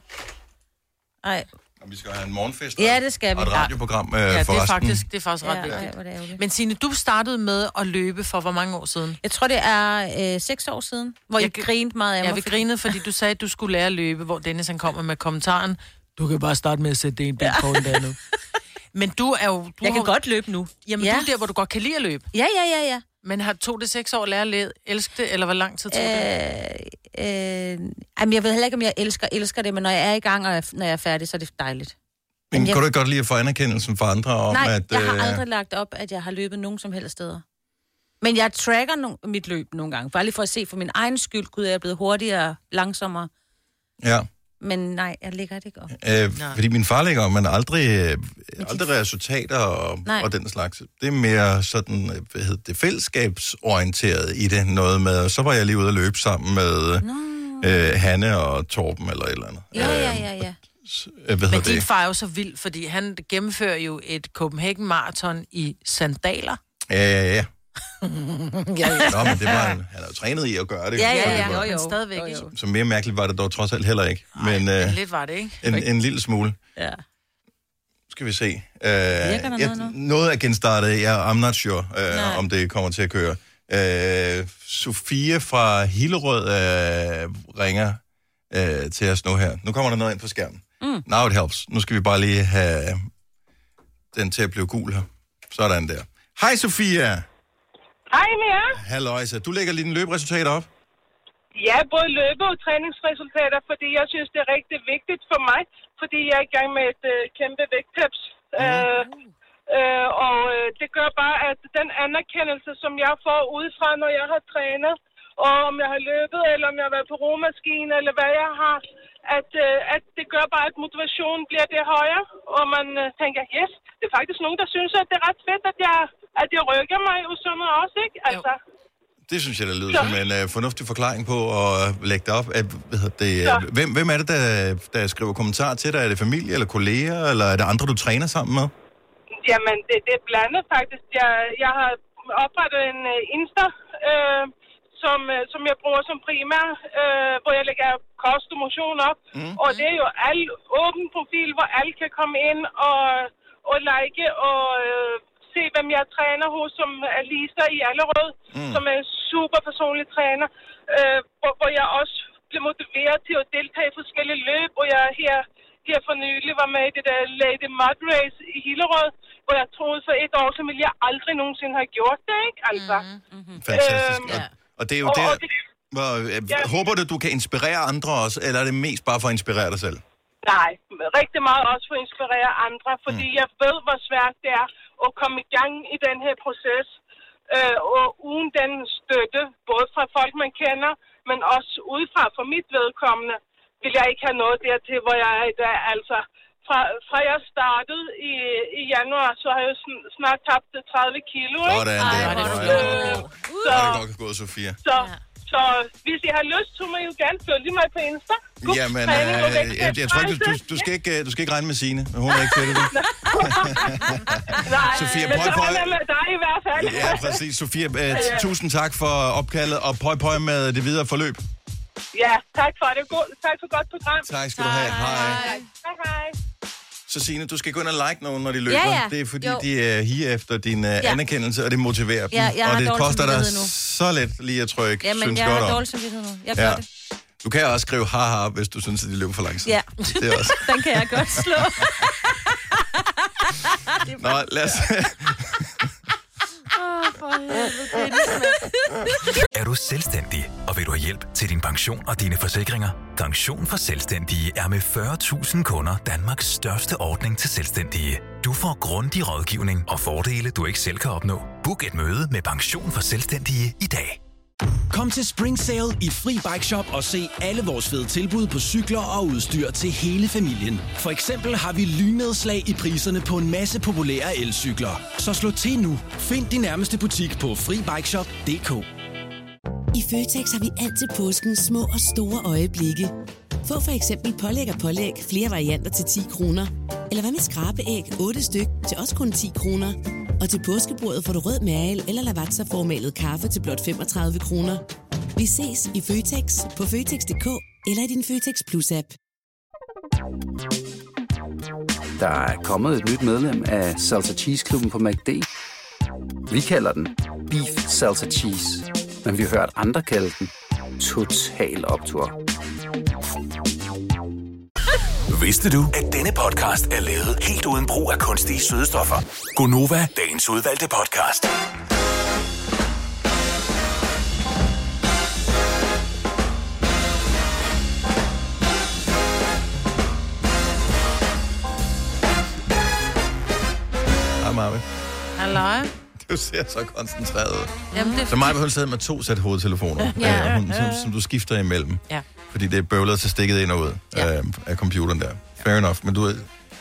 Ej. Vi skal have en morgenfest. Ja, det skal vi. Og et radioprogram øh, Ja, det for er resten. faktisk, det er faktisk ret Ja, vigtigt. ej, hvor er det ærgerligt. Men Signe, du startede med at løbe for hvor mange år siden? Jeg tror, det er øh, seks år siden, hvor jeg, jeg grinede meget af Ja, mig. vi grinede, fordi du sagde, at du skulle lære at løbe, hvor Dennis han kommer med kommentaren, du kan bare starte med at sætte det en bil foran det andet. Men du er jo... Du Jeg kan har- godt løbe nu. Jamen, ja. Ja. du er der, hvor du godt kan lide at løbe. Ja, ja, ja, ja. Men har tog det seks år at lære at lede, elske det, eller hvor lang tid tog det? Øh, jamen, jeg ved heller ikke, om jeg elsker elsker det, men når jeg er i gang, og jeg, når jeg er færdig, så er det dejligt. Men jeg- kan du ikke godt lide at få anerkendelsen fra andre om, Nej, at... jeg har øh, aldrig lagt op, at jeg har løbet nogen som helst steder. Men jeg tracker no- mit løb nogle gange, bare lige for at se for min egen skyld. Gud, jeg er blevet hurtigere, langsommere. Ja. Men nej, jeg lægger det ikke op. Øh, Nej. fordi min far lægger, men aldrig, øh, aldrig resultater og, Nej. og den slags. Det er mere sådan, øh, hvad hedder det, fællesskabsorienteret i det. Noget med, så var jeg lige ude at løbe sammen med øh, Hanne og Torben eller et eller andet. Ja, ja, ja, ja. Øh, Hvad Men hedder din det? far er jo så vild, fordi han gennemfører jo et Copenhagen Marathon i sandaler. Ja, ja, ja. ja, Nå, men det var, han han er jo trænet i at gøre det. Ja, så ja, det ja. var- Jo, jo. Stadigvæk, jo, jo. Så mere mærkeligt var det dog trods alt heller ikke. Men, øh, Lidt var det, ikke? en, en lille smule. Ja. Skal vi se. Øh, der noget jeg, nu? noget er genstartet. Jeg I'm not sure, øh, Nej. om det kommer til at køre. Øh, Sofie fra Hillerød øh, ringer øh, til os nu her. Nu kommer der noget ind på skærmen. Mm. Now it helps. Nu skal vi bare lige have den til at blive gul her. Sådan der. Hej Sofia. Hej med jer. Halløjsa. Du lægger lige dine løberesultater op. Ja, både løbe- og træningsresultater, fordi jeg synes, det er rigtig vigtigt for mig, fordi jeg er i gang med et øh, kæmpe vægttabs. Øh, øh, og øh, det gør bare, at den anerkendelse, som jeg får udefra, når jeg har trænet, og om jeg har løbet, eller om jeg har været på romaskinen, eller hvad jeg har, at, øh, at det gør bare, at motivationen bliver det højere, og man øh, tænker, yes, det er faktisk nogen, der synes, at det er ret fedt, at jeg, at jeg rykker mig i sådan også, ikke? Altså, Det synes jeg, der lyder som en øh, fornuftig forklaring på at øh, lægge det op. At, hvad hedder det, øh, hvem, hvem er det, der, der skriver kommentarer til dig? Er det familie eller kolleger, eller er det andre, du træner sammen med? Jamen, det, det er blandet faktisk. Jeg, jeg har oprettet en uh, Insta, øh, som, øh, som jeg bruger som primær, øh, hvor jeg lægger kost og motion op. Mm. Og det er jo al åben profil, hvor alle kan komme ind og, og like og øh, se, hvem jeg træner hos, som er Lisa i Allerød, mm. som er en super personlig træner, øh, hvor, hvor jeg også blev motiveret til at deltage i forskellige løb, hvor jeg her her for nylig var med i det der Lady Mud Race i Hillerød, hvor jeg troede for et år, som ville jeg aldrig nogensinde have gjort det, ikke? Altså. Mm-hmm. Fantastisk. Øhm, og, og det er jo og- der, og det- hvor, øh, Ja. håber du, du kan inspirere andre også, eller er det mest bare for at inspirere dig selv? Nej, rigtig meget også for at inspirere andre, fordi mm. jeg ved, hvor svært det er at komme i gang i den her proces, øh, og uden den støtte, både fra folk, man kender, men også udefra for mit vedkommende, vil jeg ikke have noget dertil, hvor jeg er i dag. Altså, fra, fra jeg startede i, i januar, så har jeg jo sn- snart tabt 30 kilo, ikke? Sådan der. Ej, hvor er Øh, det Så så, er det godt gået, Sofia. så, så hvis I har lyst, så må I jo gerne følge mig på Insta. Gup, Jamen, træning og øh, jeg, jeg tror ikke, du, vægttabsrejse. du, du, skal ikke, øh, du skal ikke regne med Signe. Hun er ikke til det. Nej, Sofia, men prøv så at- regner jeg med dig i hvert fald. Ja, præcis. Sofia, øh, Ja. t- tusind tak for opkaldet, og pøj pøj med det videre forløb. Ja, tak for det. God, tak for godt program. Tak skal du have. Hej. Hej, hej. Så Signe, du skal gå ind og like nogen, når de løber. Ja, ja. Det er fordi, Jo. de er higer efter din uh, Ja. anerkendelse, og det motiverer dem. Ja, jeg har og det dårlig koster dig samvittighed nu. så let lige at trykke, Jamen, synes jeg godt har om. dårlig samvittighed nu. Jeg gør det. Du kan også skrive haha, hvis du synes, at de løber for langsomt. Ja, Det er også. den kan jeg godt slå. Nå, lad os... Åh, for helvede. Er du selvstændig, og vil du have hjælp til din pension og dine forsikringer? Pension for Selvstændige er med 40.000 kunder Danmarks største ordning til selvstændige. Du får grundig rådgivning og fordele, du ikke selv kan opnå. Book et møde med Pension for Selvstændige i dag. Kom til Spring Sale i Fri Bike Shop og se alle vores fede tilbud på cykler og udstyr til hele familien. For eksempel har vi lynedslag i priserne på en masse populære elcykler. Så slå til nu. Find din nærmeste butik på FriBikeShop.dk I Føtex har vi altid påskens små og store øjeblikke. Få for eksempel pålæg og pålæg flere varianter til 10 kroner. Eller hvad med skrabeæg 8 styk til også kun 10 kroner. Og til påskebordet får du rød mal eller lavatserformalet kaffe til blot 35 kroner. Vi ses i Føtex på Føtex.dk eller i din Føtex Plus-app. Der er kommet et nyt medlem af Salsa Cheese Klubben på MACD. Vi kalder den Beef Salsa Cheese, men vi har hørt andre kalde den Total Optor. Vidste du, at denne podcast er lavet helt uden brug af kunstige sødestoffer? Gonova, dagens udvalgte podcast. Du ser så koncentreret ud. Jamen, det er Så mig hun sidder med to sæt hovedtelefoner, Ja. ja. øh, hun, som, som du skifter imellem. Ja. Fordi det er bøvlet, så stikket ind og ud ja. øh, af computeren der. Fair enough. Men du, øh,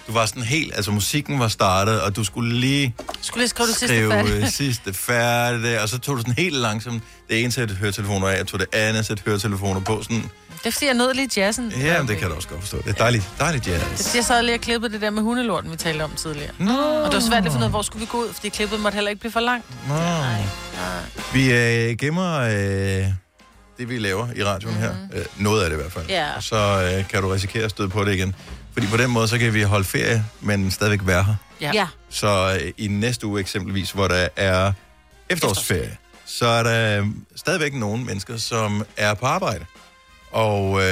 du var sådan helt... Altså, musikken var startet, og du skulle lige Skulle lige skrive det sidste skrive færdigt. øh, sidste færdigt. Og så tog du sådan helt langsomt det ene sæt høretelefoner af, og tog det andet sæt høretelefoner på. Sådan, Det er fordi, jeg nød lige jazzen. ja, men det kan jeg da også godt forstå. Det er dejligt, dejligt Det er, jazz. fordi, jeg sad lige og klippede det der med hundelorten, vi talte om tidligere. Nå. Og det var svært lige at finde ud af, hvor skulle vi gå ud, fordi klippet måtte heller ikke blive for langt. Nej. Vi øh, gemmer øh, det, vi laver i radioen her. Øh, noget af det i hvert fald. Mhm. Ja. Og så øh, kan du risikere at støde på det igen. Fordi på den måde, så kan vi holde ferie, men stadigvæk være her. Ja. ja. Så øh, i næste uge eksempelvis, hvor der er efterårsferie, så er der øh, stadigvæk nogle mennesker, som er på arbejde. Og øh,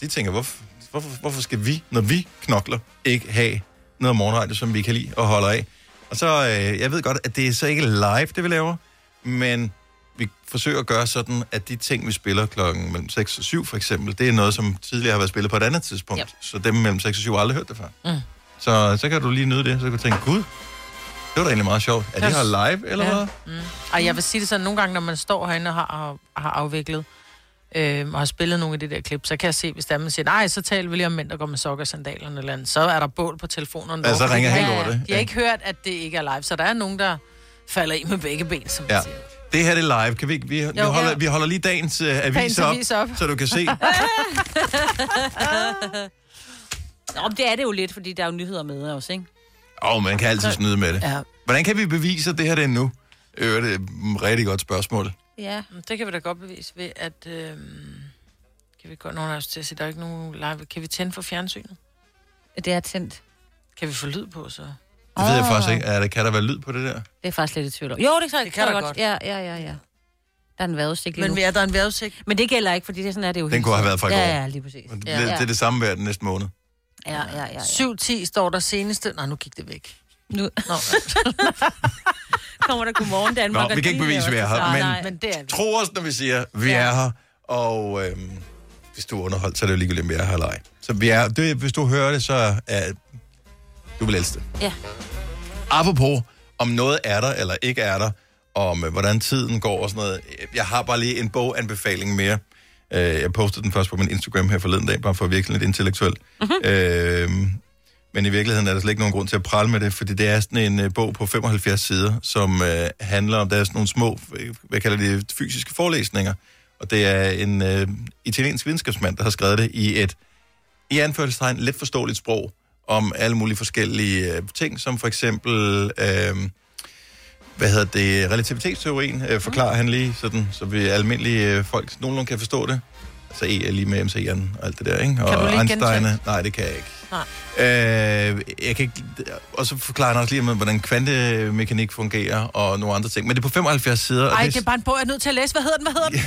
de tænker, hvorfor, hvorfor, hvorfor skal vi, når vi knokler, ikke have noget morgenradio, som vi kan lide og holder af? Og så, øh, jeg ved godt, at det er så ikke live, det vi laver, men vi forsøger at gøre sådan, at de ting, vi spiller klokken mellem 6 og 7 for eksempel, det er noget, som tidligere har været spillet på et andet tidspunkt. Yep. Så dem mellem 6 og 7 har aldrig hørt det før. Mm. Så, så kan du lige nyde det, så kan du tænke, gud, det var da egentlig meget sjovt. Er det her live, eller hvad? Mm. Ej, jeg vil sige det sådan, nogle gange, når man står herinde og har, har afviklet, øh, og har spillet nogle af de der klip, så kan jeg se, hvis der er, man siger, nej, så taler vi lige om mænd, der går med sokker og sandaler eller andet. Så er der bål på telefonerne. Ja, så derovre, ringer fordi- han over det. De har ikke hørt, at det ikke er live, så der er nogen, der falder i med begge ben, som Ja. Det her det er live. Kan vi, ikke- vi, vi, Jo. holder, vi holder lige dagens uh, avis, Dagens avis op. så du kan se. Nå, men det er det jo lidt, fordi der er jo nyheder med os, ikke? Åh, oh, man kan altid snyde med det. Ja. Hvordan kan vi bevise, at det her det er nu? Øh, det er et rigtig godt spørgsmål. Ja, Mm, det kan vi da godt bevise ved, at... Øh, kan vi godt nogen af os til at sige, der er ikke nogen live. Kan vi tænde for fjernsynet? Det er tændt. Kan vi få lyd på, så? Det ved jeg Åh. faktisk ikke. Er der, kan der være lyd på det der? Det Ah. er faktisk lidt i tvivl om. Jo, det kan, Det kan der der godt. godt. Ja, ja, ja, ja. Der er en vejrudsigt lige Men nu. ja, der er en vejrudsigt. Men det gælder ikke, fordi det er sådan er det jo Den hele kunne have tiden. været fra i går. ja, Ja, lige præcis. Men Det, Ja, bliver- det er det samme hver den næste måned. ja, ja, ja. 7.10 står der seneste. Nej, nu gik det væk. Nu. Nå. Kommer der godmorgen Danmark? Nå, vi kan ikke bevise, at vi er her, men, men det er vi. tro os, når vi siger, at vi er her, og øhm, hvis du er underholdt, så er det jo ligegyldigt, om vi er her eller ej. Så vi er, det, hvis du hører det, så er du vil elske det. Ja. Apropos, om noget er der eller ikke er der, om øh, hvordan tiden går og sådan noget. øh, Jeg har bare lige en boganbefaling mere. Øh, jeg postede den først på min Instagram her forleden dag, bare for at virke lidt intellektuel. Mm-hmm. Øh, men i virkeligheden er der slet ikke nogen grund til at prale med det, fordi det er sådan en øh, bog på 75 sider, som øh, handler om, der er sådan nogle små, øh, hvad kalder de, det, fysiske forelæsninger. Og det er en øh, italiensk videnskabsmand, der har skrevet det i et i anførselstegn let forståeligt sprog om alle mulige forskellige øh, ting, som for eksempel, øh, hvad hedder det, relativitetsteorien, øh, forklarer han lige, sådan, så vi almindelige øh, folk nogenlunde kan forstå det. Så E er lige med MC'eren og alt det der, ikke? Kan og du lige Einstein er- gentage? Nej, det kan jeg ikke. Nej. Øh, jeg kan ikke, og så forklarer han også lige, om, hvordan kvantemekanik fungerer og nogle andre ting. Men det er på 75 sider. og Ej, det det er bare en bog, jeg er nødt til at læse. Hvad hedder den? Hvad hedder den?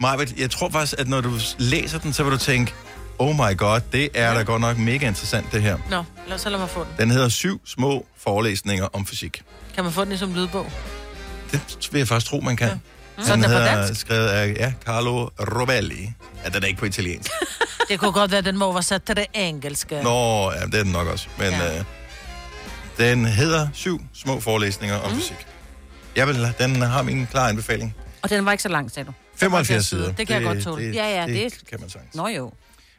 Majbert, jeg tror faktisk, at når du læser den, så vil du tænke, oh my god, det er da godt nok mega interessant det her. Nå, lad os så lade mig få den. Den hedder syv små forelæsninger om fysik. Kan man få den som lydbog? Det vil jeg faktisk tro, man kan. Ja. Mm. Så den er på hedder, dansk? skrevet af ja, Carlo Rovelli. Ja, den er ikke på italiensk. Det kunne godt være, at den var oversat til det engelske. Nå, ja, det er den nok også. Men ja. øh, den hedder syv små forelæsninger om Mhm. mm. fysik. Jeg vil, den har min klare anbefaling. Og den var ikke så lang, sagde du. 75 sider. Det kan jeg godt tåle. Det, Ja, ja, det, det- kan man sagtens. Nå jo.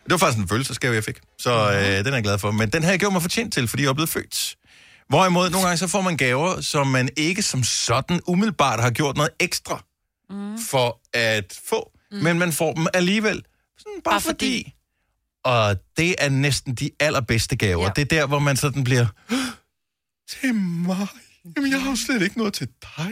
Det var faktisk en følelsesgave, jeg fik. Så Mhm. øh, den er jeg glad for. Men den her gjorde mig fortjent til, fordi jeg er blevet født. Hvorimod, nogle gange så får man gaver, som man ikke som sådan umiddelbart har gjort noget ekstra mm. for at få. Mm. Mhm. Men man får dem alligevel. Sådan bare, bare fordi. fordi. Og det er næsten de allerbedste gaver. Ja. Det er der, hvor man sådan bliver... Til mig. Jamen, jeg har jo slet ikke noget til dig.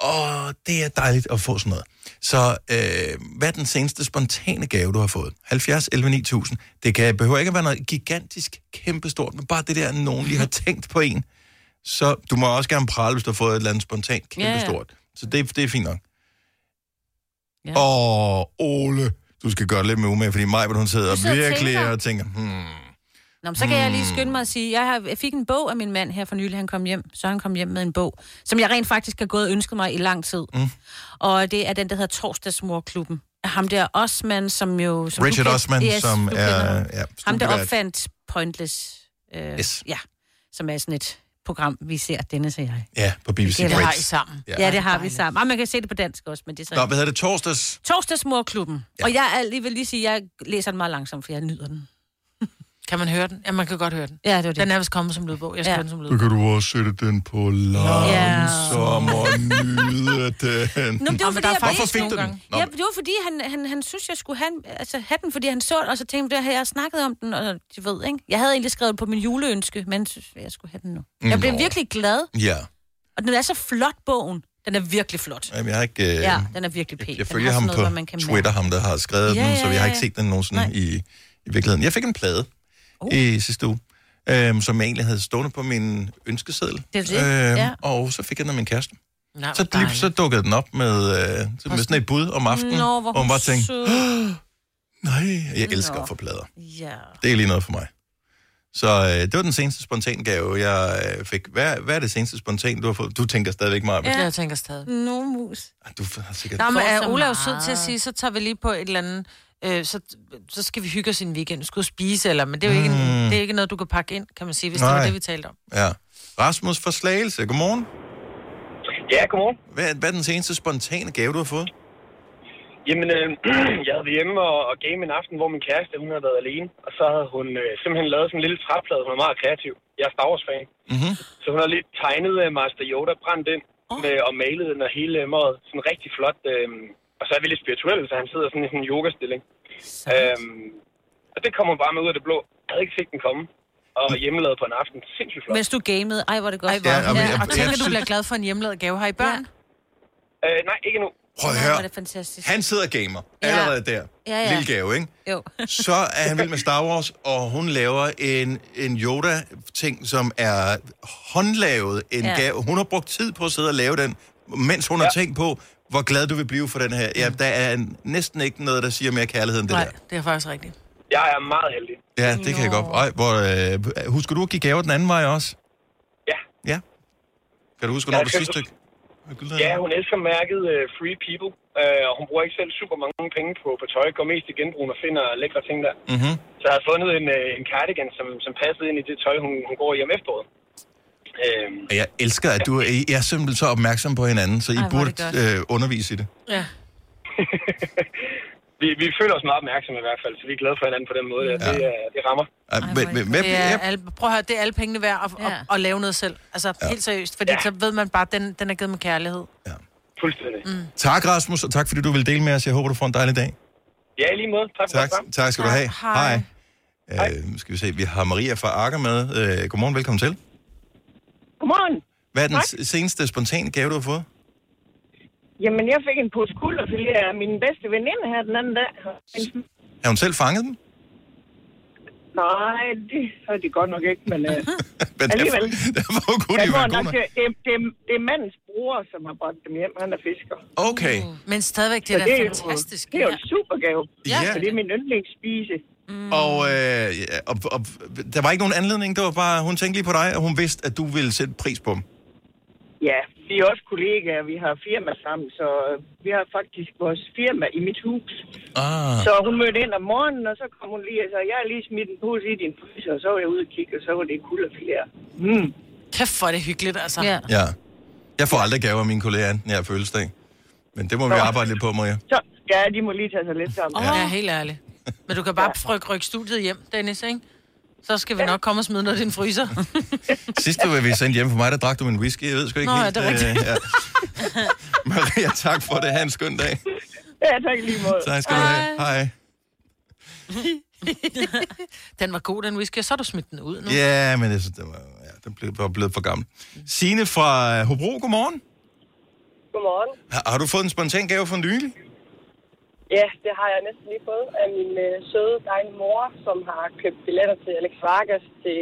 Og det er dejligt at få sådan noget. Så øh, hvad er den seneste spontane gave, du har fået? 70, 11, 9000. Det kan, behøver ikke at være noget gigantisk, kæmpestort, men bare det der, at nogen lige har tænkt på en. Så du må også gerne prale, hvis du har fået et eller andet spontant, Ja, ja. kæmpestort. Så det, det er fint nok. Ja. Åh, Ole, du skal gøre det lidt med umage, fordi Maj, hun sidder, Du sidder og virkelig tænker. og tænker, hmm, Nå, men så kan jeg lige skynde mig at sige, jeg, har, jeg fik en bog af min mand her for nylig, han kom hjem. Så han kom hjem med en bog, som jeg rent faktisk har gået og ønsket mig i lang tid. Mm. Og det er den, der hedder Torsdagsmorklubben. Af Ham der Osman, som jo... Som du Richard kend- Osman, som du kender er- ham. ja, ham, der studievært. opfandt Pointless. Øh, Yes. Ja, som er sådan et program, vi ser, Dennis og jeg. Ja, på BBC det har I Breaks. sammen. Ja, ja det har vi sammen. Og man kan se det på dansk også, men det er så... Nå, hvad hedder det? Torsdags? Torsdagsmorklubben. Ja. Og jeg er lige vil lige sige, at jeg læser den meget langsomt, for jeg nyder den. Kan man høre den? Ja, man kan godt høre den. Ja, det var det. Den er vist kommet som lydbog. Jeg skal ja. den som Så lydbog. kan du også sætte den på langsom og nyde den. Nå, men det var, fordi, jeg Hvorfor læste fik nogle du den? gange. Nå, Ja, det var fordi, han, han, han synes, jeg skulle have, den- altså, have den, fordi han så den, og så tænkte jeg, at jeg snakket om den, og de ved, ikke? Jeg havde egentlig skrevet den på min juleønske, men jeg synes, jeg skulle have den nu. Jeg blev Nå. virkelig glad, ja. og den er så flot, bogen. Den er virkelig flot. Jamen, jeg har ikke... Øh, Ja, den er virkelig pæn. Jeg Den følger har ham sådan på noget, hvor man kan mærke. Twitter, ham der har skrevet Ja, den, ja, så jeg har ja, ikke ja. set den nogensinde Nej. Uh. i, i virkeligheden. Jeg fik en plade i sidste uge, øhm, som jeg egentlig havde stående på min ønskeseddel. Øhm, Det er det, ja. Og så fik jeg den af min kæreste. Nej, Så, lige, så dukkede den op med, øh, så- med sådan et bud om aftenen, Nå, hvor og man hun bare tænkte, sød. nej, jeg elsker Nå. at få plader. Ja. Det er lige noget for mig. Så øh, det var den seneste spontan gave, jeg øh, fik. Hvad, hvad er det seneste spontan, du har fået? Du tænker stadigvæk meget. Ah, Ja. Jeg tænker stadig. No mus. Du har sikkert... Nå, men får er så Ola er jo sød meget. til at sige, så tager vi lige på et eller andet... Øh, så, så skal vi hygge os i en weekend. Du skal jo spise, eller... Men det er jo ikke, Mm. det er ikke noget, du kan pakke ind, kan man sige, hvis Nej. det Nej. var det, vi talte om. Ja. Rasmus fra Slagelse, godmorgen. Ja, godmorgen. Hvad, hvad er den seneste spontane gave, du har fået? Jamen, øh, jeg havde været hjemme og, og game en aften, hvor min kæreste, hun havde været alene. Og så havde hun øh, simpelthen lavet sådan en lille træplade. Hun er meget kreativ. Jeg er Star Wars-fan. Mm-hmm. Så hun har lige tegnet øh, Master Yoda, brændt ind med, og malet den og hele øh, måde. Sådan rigtig flot. Øh, og så er vi lidt spirituelle, så han sidder sådan i sådan en yogastilling. Øh, og det kommer bare med ud af det blå. Jeg havde ikke set den komme. Og hjemmelavet på en aften. Sindssygt flot. Mens du gamede. Ej, hvor er det godt. Ej, hvor- Ja, og men jeg- Og tænk, jeg at du synes- bliver glad for en hjemmelavet gave. Har I børn? Ja. Øh, nej, ikke nu. Prøv at Nå, høre. hvor er det fantastisk. Han sidder og gamer. Allerede der. Ja, ja. Lille gave, ikke? Jo. Så er han vild med Star Wars, og hun laver en, en Yoda-ting, som er håndlavet en Ja. ja. gave. Hun har brugt tid på at sidde og lave den, mens hun ja. har tænkt på, hvor glad du vil blive for den her. Ja, der er en- næsten ikke noget, der siger mere kærlighed end det Nej, der. det er faktisk rigtigt. Jeg er meget heldig. Ja, det kan jeg godt. Ej, hvor, øh, husker du at give gaver den anden vej også? Ja. Ja. Kan du huske, Ja, hvornår du jeg kan sidste... Ja, hun elsker mærket uh, Free People, uh, og hun bruger ikke selv super mange penge på, på tøj. Går mest i genbrug og finder lækre ting der. Mm-hmm. Så jeg har fundet en, uh, en cardigan, som, som passede ind i det tøj, hun, hun går i om efteråret. Uh, Og Jeg elsker, at du I er simpelthen så opmærksom på hinanden, så I Ej, hvor er burde det godt. øh, undervise i det. Ja. vi, vi føler os meget opmærksomme i hvert fald, så vi er glade for hinanden på den måde. Ja. Det, uh, det rammer. Ej, men- men- hvad- Det er alle, prøv at høre, det er alle pengene værd at, ja. at, at lave noget selv. Altså, ja. helt seriøst. Fordi ja. så ved man bare, at den, den er givet med kærlighed. Fuldstændig. Mm. Tak, Rasmus, og tak fordi du vil dele med os. Jeg håber, du får en dejlig dag. Ja, i lige måde. Tak for Tak, det. tak skal du have. Hej. Hej. Øh, nu skal vi se, vi har Maria fra Akker med. Øh, godmorgen, velkommen til. Godmorgen. Hvad er den Tak. s- seneste spontane gave, du har fået? Jamen, jeg fik en pose kulderfilet af min bedste veninde her den anden dag. Har hun selv fanget den? Nej, det har de godt nok ikke, men... Uh, Men alligevel. Derfor kunne jeg de tror være nok, gode. det, det, det er mandens bror, som har bragt dem hjem. Han er fisker. Okay. Men stadigvæk, Mm. det er Så da det er jo- fantastisk. Det er jo en supergave. Ja. For det er min yndlingsspise. Mm. Mm. Og, øh, ja, og, og, der var ikke nogen anledning. Det var bare, hun tænkte lige på dig, og hun vidste, at du ville sætte pris på dem. Ja, vi er også kollegaer. Vi har firma sammen, så øh, vi har faktisk vores firma i mit hus. Ah. Så hun mødte ind om morgenen, og så kom hun lige og sagde, jeg har lige smidt en pose i din fryser, og så var jeg ude og kigge, og så var det kulderfilet. Mm. Kæft, hvor er det hyggeligt, altså. Ja. Ja. Jeg får aldrig gaver af mine kolleger, enten jeg har fødselsdag. Men det må vi Nå. arbejde lidt på, Maria. Så, ja, de må lige tage sig lidt sammen. Ja. ja, helt ærligt. Men du kan bare ja. rykke, rykke studiet hjem, Dennis, ikke? Så skal vi nok komme og smide noget i din fryser. Sidst du var vi sendt hjem for mig, der drak du en whisky. Jeg ved sgu ikke Nå, helt. ja, det er øh, rigtigt. ja. Maria, tak for det. Ha' en skøn dag. Ja, tak i lige måde. Tak skal du have. Hej. den var god, den whisky, og så har du smidt den ud nu. Ja, men jeg synes, det var, ja, den blev, var blevet for gammel. Signe fra øh, Hobro, godmorgen. Godmorgen. Har, har du fået en spontan gave for nylig? Ja, det har jeg næsten lige fået af min øh, søde, dejlige mor, som har købt billetter til Alex Vargas, til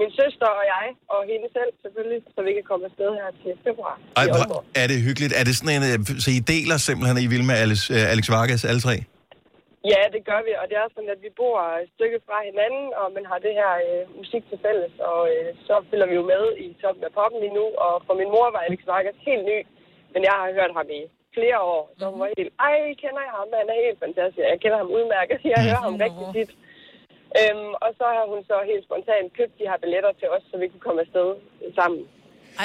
min søster og jeg, og hende selv selvfølgelig, så vi kan komme afsted her til februar. Ej, hvor er det hyggeligt. Er det sådan en, øh, så I deler simpelthen, at I vil med Alex, øh, Alex Vargas, alle tre? Ja, det gør vi, og det er sådan, at vi bor et stykke fra hinanden, og man har det her øh, musik til fælles, og øh, så følger vi jo med i toppen af poppen lige nu, og for min mor var Alex Vargas helt ny, men jeg har hørt ham i flere år, så hun var helt, ej, kender jeg ham, han er helt fantastisk, jeg kender ham udmærket, jeg hører ham rigtig tit. Øhm, og så har hun så helt spontant købt de her billetter til os, så vi kunne komme afsted sammen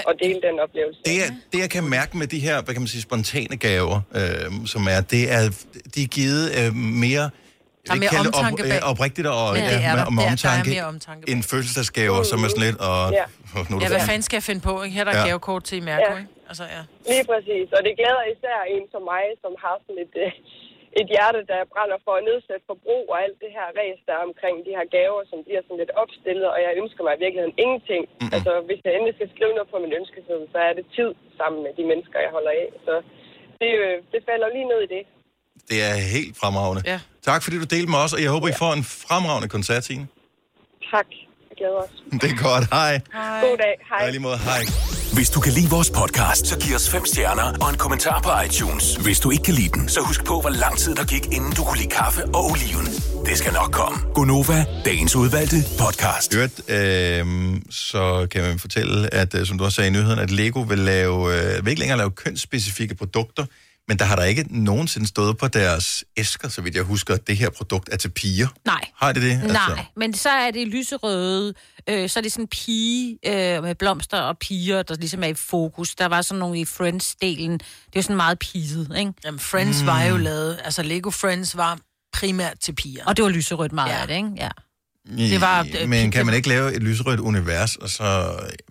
og dele den oplevelse. Det, jeg, det, jeg kan mærke med de her, hvad kan man sige, spontane gaver, øh, som er, det er, de er givet øh, mere... Der er mere kalde omtanke op, bag. øh, oprigtigt og Ja, ja, det er ja, med, der. med Der- der er omtanke, mere omtanke end fødselsdagsgaver, som er sådan lidt, og Ja. nu er Ja, du hvad færdig. fanden skal jeg finde på? Ikke? Her er der Ja. ja. gavekort til i Mærko, Ja. ikke? Altså, ja. Lige præcis, og det glæder især en som mig, som har sådan et, øh, et hjerte, der brænder for at nedsætte forbrug og alt det her ræs, der er omkring de her gaver, som bliver sådan lidt opstillet, og jeg ønsker mig i virkeligheden ingenting. Mm-hmm. Altså, hvis jeg endelig skal skrive noget på min ønskeseddel, så er det tid sammen med de mennesker, jeg holder af. Så det, øh, det falder lige ned i det. Det er helt fremragende. Ja. Tak fordi du delte med os, og jeg håber, I får en fremragende koncert, Signe. Tak. Jeg glæder os. Det er godt. Hej. God dag. Hej. Og i lige måde, hej. Hvis du kan lide vores podcast, så giv os fem stjerner og en kommentar på iTunes. Hvis du ikke kan lide den, så husk på, hvor lang tid der gik, inden du kunne lide kaffe og oliven. Det skal nok komme. Gonova, dagens udvalgte podcast. Hørt, øh, så kan man fortælle, at øh, som du også sagde i nyheden, at Lego vil, lave, øh, vil ikke længere lave kønsspecifikke produkter, men der har der ikke nogensinde stået på deres æsker, så vidt jeg husker, at det her produkt er til piger. Nej. Har det Altså, det? Nej, men så er det lyserøde, øh, så er det sådan pige øh, med blomster og piger, der ligesom er i fokus. Der var sådan nogle i Friends-delen. Det er jo sådan meget piget, ikke? Jamen, Friends mm. var jo lavet, altså Lego Friends var primært til piger. Og det var lyserødt meget ja. af det, ikke? Ja. Det var, øh, men kan man ikke lave et lyserødt univers, og så...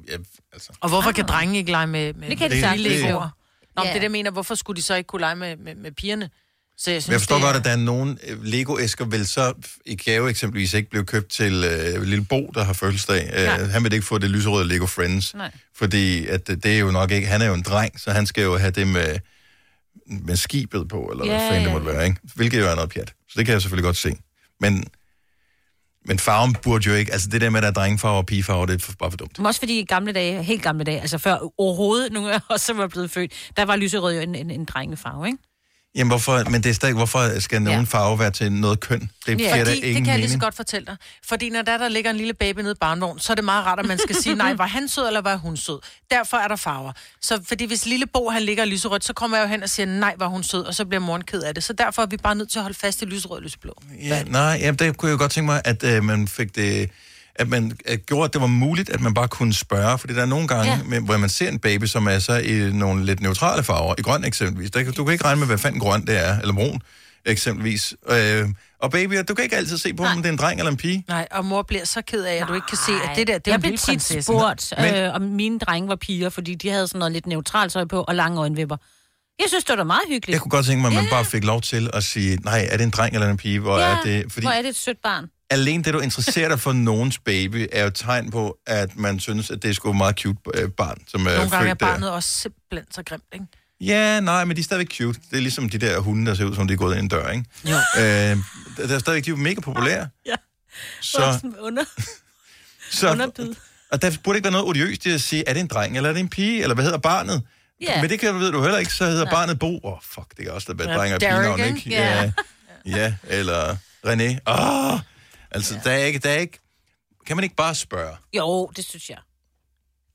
Ja, altså. Og hvorfor kan drenge ikke lege med, med Det kan de med sagtens. Legoer? Nå, men Ja. det der mener, hvorfor skulle de så ikke kunne lege med, med, med pigerne? Så jeg, Men jeg forstår det godt, at der er nogle øh, Lego-æsker, vil så f- i gave eksempelvis ikke blive købt til øh, Lille Bo, der har fødselsdag. Nej. Øh, han vil ikke få det lyserøde Lego Friends. Nej. Fordi at, øh, det er jo nok ikke... Han er jo en dreng, så han skal jo have det med, med skibet på, eller Ja, hvad fanden det ja, måtte være, ikke? Hvilket jo er noget pjat. Så det kan jeg selvfølgelig godt se. Men, men farven burde jo ikke... Altså det der med, at der er drengefarver og pigefarver, det er for- bare for dumt. Men også fordi i gamle dage, helt gamle dage, altså før overhovedet nogen af os, som var blevet født, der var lyserød jo en, en, en drengefarve, ikke? Jamen hvorfor... Men det er stadig... Hvorfor skal nogen Ja. ja. farve være til noget køn? Det giver da fordi, ingen det kan jeg lige så mening. godt fortælle dig. Fordi når der, der ligger en lille baby nede i barnvognen, så er det meget rart, at man skal sige, nej, var han sød, eller var hun sød? Derfor er der farver. Så fordi hvis lille Bo, han ligger i lyserødt, så kommer jeg jo hen og siger, nej, var hun sød, og så bliver moren ked af det. Så derfor er vi bare nødt til at holde fast i lyserød og lyseblå. Ja, nej, jamen, det kunne jeg godt tænke mig, at øh, man fik det at man at gjorde, at det var muligt, at man bare kunne spørge, fordi der er nogle gange, Ja. ja. med, hvor man ser en baby, som er så i nogle lidt neutrale farver, i grøn eksempelvis. Der, kan- du kan ikke regne med, hvad fanden grøn det er, eller brun eksempelvis. Øh, og babyer, du kan ikke altid se på, om det er en dreng eller en pige. Nej, og mor bliver så ked af, at du ikke kan se, at det der, det er jeg en blev lille tit prinsesse. spurgt, Men- øh, om mine drenge var piger, fordi de havde sådan noget lidt neutralt tøj på og lange øjenvipper. Jeg synes, det var da meget hyggeligt. Jeg kunne godt tænke mig, at man bare fik lov til at sige, nej, er det en dreng eller en pige? Hvor er det? Fordi Hvor er det et sødt barn? alene det, du interesserer dig for nogens baby, er jo et tegn på, at man synes, at det er sgu et meget cute øh, barn, som er Nogle født gange er der. barnet også simpelthen så grimt, ikke? Ja, nej, men de er stadigvæk cute. Det er ligesom de der hunde, der ser ud som om de er gået ind i en dør, ikke? Jo. Øh, der der er stadigvæk, de er jo mega populære. Ja. Så, under, så, og der burde ikke være noget odiøst i at sige, er det en dreng, eller er det en pige, eller hvad hedder barnet? Ja. Men det kan, ved du heller ikke, så hedder Nej. barnet Bo. Åh, oh, fuck, det kan også være Ja, dreng og Derek, pigenavn, ikke? ikke? Ja. ja. ja, eller René. Åh! Oh, altså, der er ikke, der er ikke... Kan man ikke bare spørge? Jo, det synes jeg.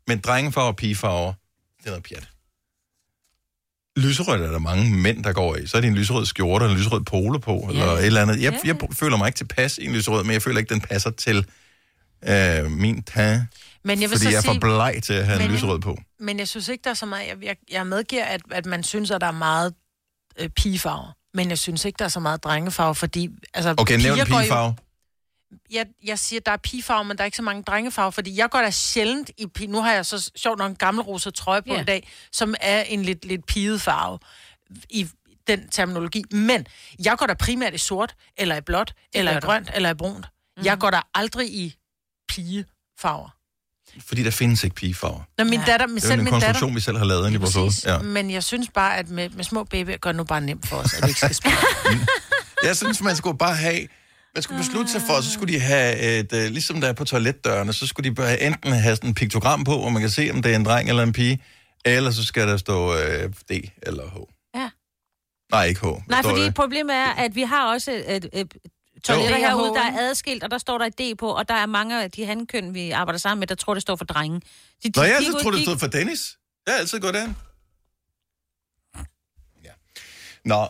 Men drengefarver og pigefarver, det er noget pjat. Lyserødt er der mange mænd, der går i. Så er det en lyserød skjorte og en lyserød polo på, eller et eller andet. Jeg, Ja, jeg føler mig ikke tilpas i en lyserød, men jeg føler ikke, den passer til øh, min tag. Men jeg vil fordi så jeg er for sige- bleg til at have Men- en lyserød på. Men jeg synes ikke, der er så meget... Jeg, jeg, jeg medgiver, at, at man synes, at der er meget øh, pigefarver. Men jeg synes ikke, der er så meget drengefarve, fordi... Altså, Okay, nævn piger en går jo- pigefarve. Jeg, jeg siger, der er pigefarver, men der er ikke så mange drengefarver, fordi jeg går da sjældent i pige. Nu har jeg så sjovt nok en gammel rosa trøje på Ja. yeah. i dag, som er en lidt, lidt piget farve i den terminologi. Men jeg går da primært i sort, eller i blåt, eller gør du. i Mhm. grønt, eller i brunt. Mm. Jeg går da aldrig i pigefarver. Fordi der findes ikke pigefarver. Nå, min ja. datter, Det er jo selv en min datter, Mm. konstruktion, vi selv har lavet inde i vores hoved. Ja. Men jeg synes bare, at med, med små babyer gør det nu bare nemt for os, at vi ikke skal spille. Jeg synes, man skulle bare have... Man skulle beslutte sig for, så skulle de have et, øh, ligesom der er på toiletdørene, så skulle de bare enten have sådan en piktogram på, hvor man kan se, om det er en dreng eller en pige, eller så skal der stå øh, D eller H. Ja. Nej, ikke H. Hvad Nej, står øh, fordi der? problemet er, at vi har også et, et, et toiletter Jo. herude, der er adskilt, og der står der et D på, og der er mange af de handkøn, vi arbejder sammen med, der tror, det står for drenge. De, Nå, jeg kigger altid ud- troede, det kig- stod for Dennis. Jeg har altid gået den. Ja. Nå,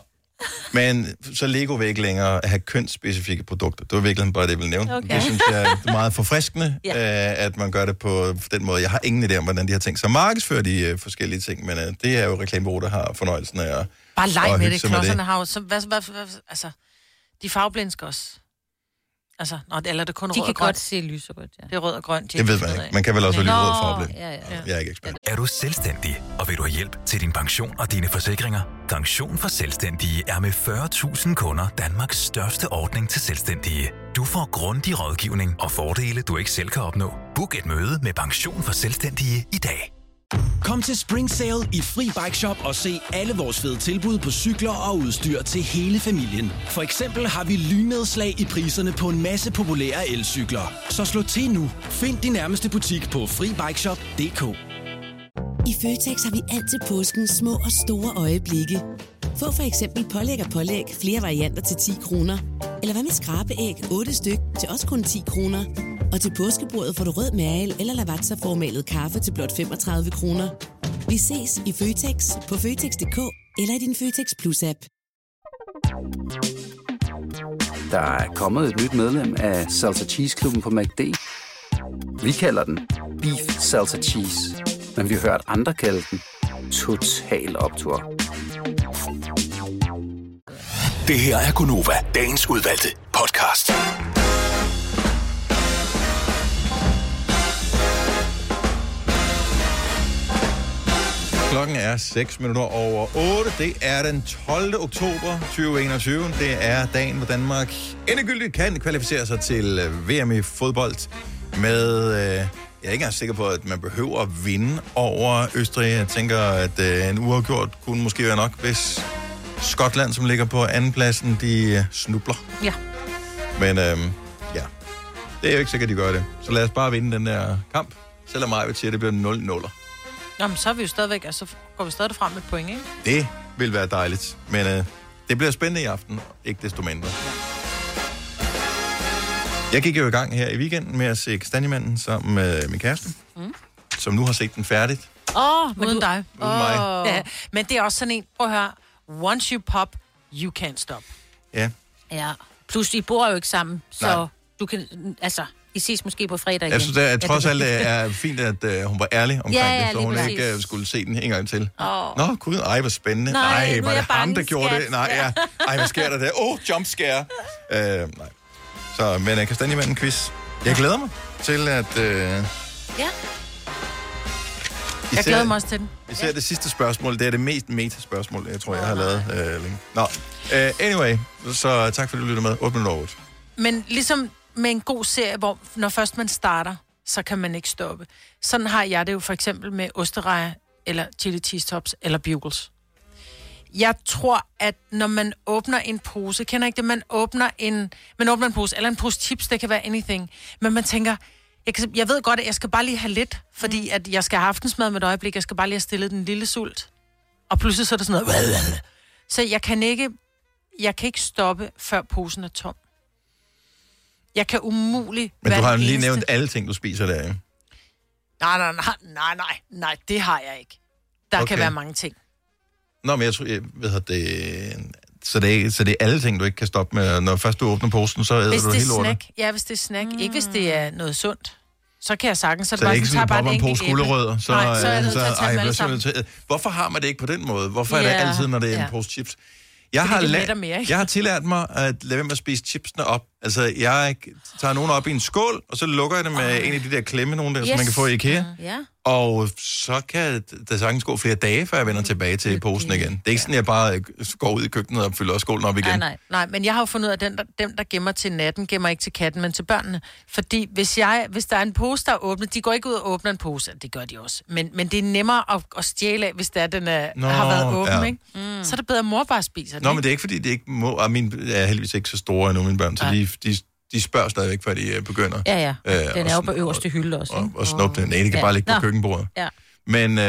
Men så Lego vil ikke længere have kønsspecifikke produkter. Det var virkelig bare det, jeg ville nævne. Okay. Okay. Det synes jeg er meget forfriskende, Ja. ja. øh, at man gør det på den måde. Jeg har ingen idé om, hvordan de har tænkt sig at markedsføre de øh, forskellige ting, men øh, det er jo reklamebureauer, der har fornøjelsen af at Bare at leg med hygge det. sig med Klodserne har jo... Så, hvad, hvad, hvad, altså, de er farveblinde skal også. Altså, nå, eller er det kun De rød og kan grøn? godt se lyserødt, ja. Det er rød og grøn. de Det ved ikke man finder ikke. Man kan vel også Nej. vælge rød Nå, farve. Ja, ja. Jeg er ikke ekspert. Er du selvstændig, og vil du have hjælp til din pension og dine forsikringer? Pension for Selvstændige er med 40.000 kunder Danmarks største ordning til selvstændige. Du får grundig rådgivning og fordele, du ikke selv kan opnå. Book et møde med Pension for Selvstændige i dag. Kom til Spring Sale i Fri Bike Shop og se alle vores fede tilbud på cykler og udstyr til hele familien. For eksempel har vi lynedslag i priserne på en masse populære elcykler. Så slå til nu. Find din nærmeste butik på FriBikeShop.dk I Føtex har vi altid påskens små og store øjeblikke. Få for eksempel pålæg og pålæg flere varianter til 10 kroner. Eller hvad med skrabeæg 8 styk til også kun 10 kroner. Og til påskebordet får du rød mal eller lavatserformalet kaffe til blot 35 kroner. Vi ses i Føtex på Føtex.dk eller i din Føtex Plus-app. Der er kommet et nyt medlem af Salsa Cheese Klubben på MACD. Vi kalder den Beef Salsa Cheese, men vi har hørt andre kalde den Total Optor. Det her er Gunova, dagens udvalgte podcast. Klokken er 6 minutter over 8. Det er den 12. oktober 2021. Det er dagen, hvor Danmark endegyldigt kan kvalificere sig til øh, VM i fodbold med... Øh, jeg er ikke engang sikker på, at man behøver at vinde over Østrig. Jeg tænker, at øh, en uafgjort kunne måske være nok, hvis Skotland, som ligger på andenpladsen, de øh, snubler. Ja. Men øh, ja, det er jo ikke sikkert, de gør det. Så lad os bare vinde den der kamp. Selvom mig vil sige, at det bliver 0-0'er. Nå, men så er vi jo stadigvæk... Altså, går vi stadig frem med et point, ikke? Det vil være dejligt. Men øh, det bliver spændende i aften, ikke desto mindre. Jeg gik jo i gang her i weekenden med at se Kastanjemanden sammen med min kæreste, Mm. mm. som nu har set den færdigt. Åh, oh, uden dig. Uden mig. Åh. Ja, men det er også sådan en... Prøv at høre. Once you pop, you can't stop. Ja. Ja. Plus, I bor jo ikke sammen, så Nej. Nej. du kan... Altså, I ses måske på fredag igen. Jeg synes, det er, Ja, trods det- alt det er fint, at øh, hun var ærlig omkring Ja, ja, det, så lige hun præcis. ikke øh, skulle se den en gang til. Åh. Nå, gud, ej, hvor spændende. Nej, nu Nej, er var jeg det ham, bange, der gjorde skat. det? Nej, ja. Ej, hvad sker der der? Åh, oh, jumpscare. Øh, nej. Så, men øh, Kastanjemanden-quiz. Jeg glæder mig til, at... Øh, Ja. Især- Jeg glæder mig også til den. Især det sidste spørgsmål, det er det mest meta-spørgsmål, jeg tror, jeg har lavet øh, længe. Nå, øh, anyway, så tak fordi du lytter med. 8 minutter over 8. Men ligesom med en god serie, hvor når først man starter, så kan man ikke stoppe. Sådan har jeg det jo for eksempel med osterejer, eller chili cheese tops, eller bugles. Jeg tror, at når man åbner en pose, kender I ikke det, man åbner en, man åbner en pose, eller en pose chips, det kan være anything, men man tænker, jeg, kan, jeg ved godt, at jeg skal bare lige have lidt, fordi at jeg skal have aftensmad med et øjeblik, jeg skal bare lige have stillet den lille sult. Og pludselig så er der sådan noget, så jeg kan ikke, jeg kan ikke stoppe, før posen er tom. Jeg kan umuligt Men være du har jo den lige eneste- nævnt alle ting, du spiser der, ikke? Nej, nej, nej, nej, nej, nej, det har jeg ikke. Der okay. Okay. kan være mange ting. Nå, men jeg tror, jeg ved det... Så det, er, så det er alle ting, du ikke kan stoppe med. Når først du åbner posen, så æder Hvis du det er hele lortet. snack, ja, hvis det er snack, mm. ikke hvis det er noget sundt, så kan jeg sagtens. Så det er ikke tager sådan, du bare popper et en pose enkelt æble. gulerødder. Så, nej, så er jeg øh, nødt til at tage ej, dem hvad alle så er jeg sammen. nødt til at- Hvorfor har man det ikke på den måde? Hvorfor er det Ja. altid, når det er Ja. en pose chips? Jeg Fordi har, det lært- mætter mere, ikke? jeg har tillært mig at lade være med at spise chipsene op. Altså, jeg tager nogen op i en skål, og så lukker jeg dem med Ah. en af de der klemme, nogen der, yes. som man kan få i IKEA. Mm. Mm. Ja. Og så kan der sagtens gå flere dage, før jeg Mm. vender tilbage til posen igen. Det er ikke sådan, at jeg bare øh, går ud i køkkenet og fylder skålen op igen. Nej, nej. nej, men jeg har jo fundet ud af, at den, der, dem, der gemmer til natten, gemmer ikke til katten, men til børnene. Fordi hvis, jeg, hvis der er en pose, der er åbnet, de går ikke ud og åbner en pose. Det gør de også. Men, men det er nemmere at, at stjæle af, hvis det er, den er, Nå, Nå, har været åben. ja. Ja. Ikke? Mm. Så er det bedre, at mor bare spiser den. Nå, men det er ikke, fordi det ikke må... Og mine er heldigvis ikke så store endnu, mine børn, så de, de, de spørger stadigvæk, før de øh, begynder. Ja, ja. Øh, Den og er jo sådan- på øverste hylde også, og, og snuppe den. Nej, det kan Ja. bare ligge på Nå. køkkenbordet. Ja. Men øh,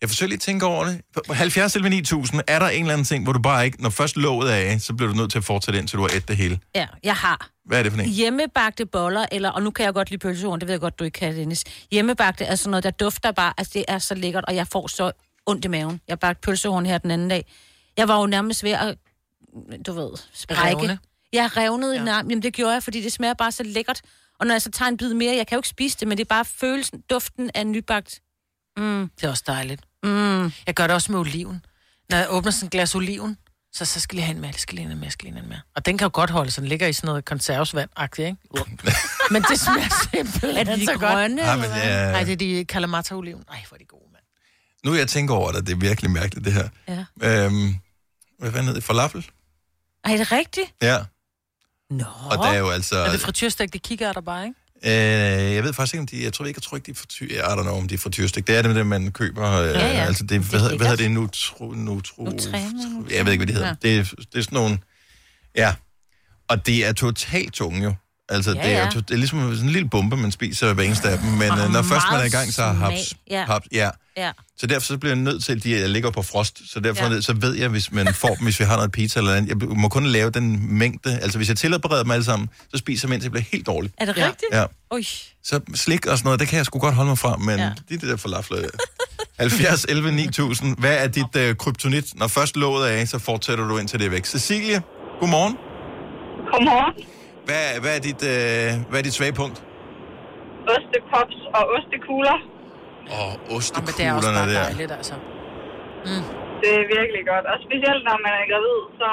jeg forsøger lige at tænke over det. På- på 70 eller 9000, er der en eller anden ting, hvor du bare ikke, når først låget er af, så bliver du nødt til at fortsætte indtil du har et det hele. Ja, jeg har. Hvad er det for en? Hjemmebagte boller, eller, og nu kan jeg godt lide pølsehorn, det ved jeg godt, du ikke kan, Dennis. Hjemmebagte er sådan noget, der dufter bare, altså det er så lækkert, og jeg får så ondt i maven. Jeg bagte pølsehorn her den anden dag. Jeg var jo nærmest ved at, du ved, sprække. Revne. Jeg revnede ja. i arm. Jamen, det gjorde jeg, fordi det smager bare så lækkert. Og når jeg så tager en bid mere, jeg kan jo ikke spise det, men det er bare følelsen, duften af nybagt. Mm. Det er også dejligt. Mm. Jeg gør det også med oliven. Når jeg åbner sådan et glas oliven, så, så skal jeg have en med, det skal lige have en med, jeg skal lige have en med. Og den kan jo godt holde, så den ligger i sådan noget konservesvand ikke? men det smager simpelthen Er det de så grønne, godt. eller hvad? Ja, men det er- Nej, det er de kalamata-oliven. Nej, hvor er de gode. Nu jeg tænker over det, det er virkelig mærkeligt, det her. Ja. Øhm, hvad fanden hedder det? Falafel? Ej, er det rigtigt? Ja. Nå. Og der er jo altså... Er det frityrstægte kikærter bare, ikke? Øh, jeg ved faktisk ikke, om de... Jeg tror ikke, jeg tror ikke, de er frityr... Jeg don't know, om de er frityrstik. Det er det med det, man køber. Øh, Ja, ja. Altså, det, Det er det hvad, hedder- hvad lækkert. hedder det? Nutro, nutro, Nutræne. Jeg ved ikke, hvad de hedder. Ja. Ja. Det, er- det er sådan nogle... Ja. Og det er totalt tunge, jo. Altså, Ja, ja, det, er, ja. ja. det er ligesom sådan en lille bombe, man spiser hver eneste af dem. Men Og øh, har når først man meget er i gang, så er smag. haps. Ja. haps ja. Ja. Så derfor så bliver jeg nødt til, at de ligger på frost. Så derfor Ja. ja. så ved jeg, hvis man får dem, hvis vi har noget pizza eller andet. Jeg må kun lave den mængde. Altså, hvis jeg tilbereder dem alle sammen, så spiser jeg dem, indtil jeg bliver helt dårlig. Er det ja. rigtigt? Ja. Oj. Så slik og sådan noget, det kan jeg sgu godt holde mig fra, men Ja. ja. de der falafler... der. 70, 11, 9000. Hvad er dit øh, kryptonit? Når først låget er af, så fortsætter du indtil det er væk. Cecilie, godmorgen. Godmorgen. Hvad, hvad, er dit, øh, hvad er dit svage punkt? Ostepops og ostekugler. Men det Åh, oh, er også bare ostekuglerne der. dejligt, altså. Mm. Det er virkelig godt. Og specielt når man er gravid, så,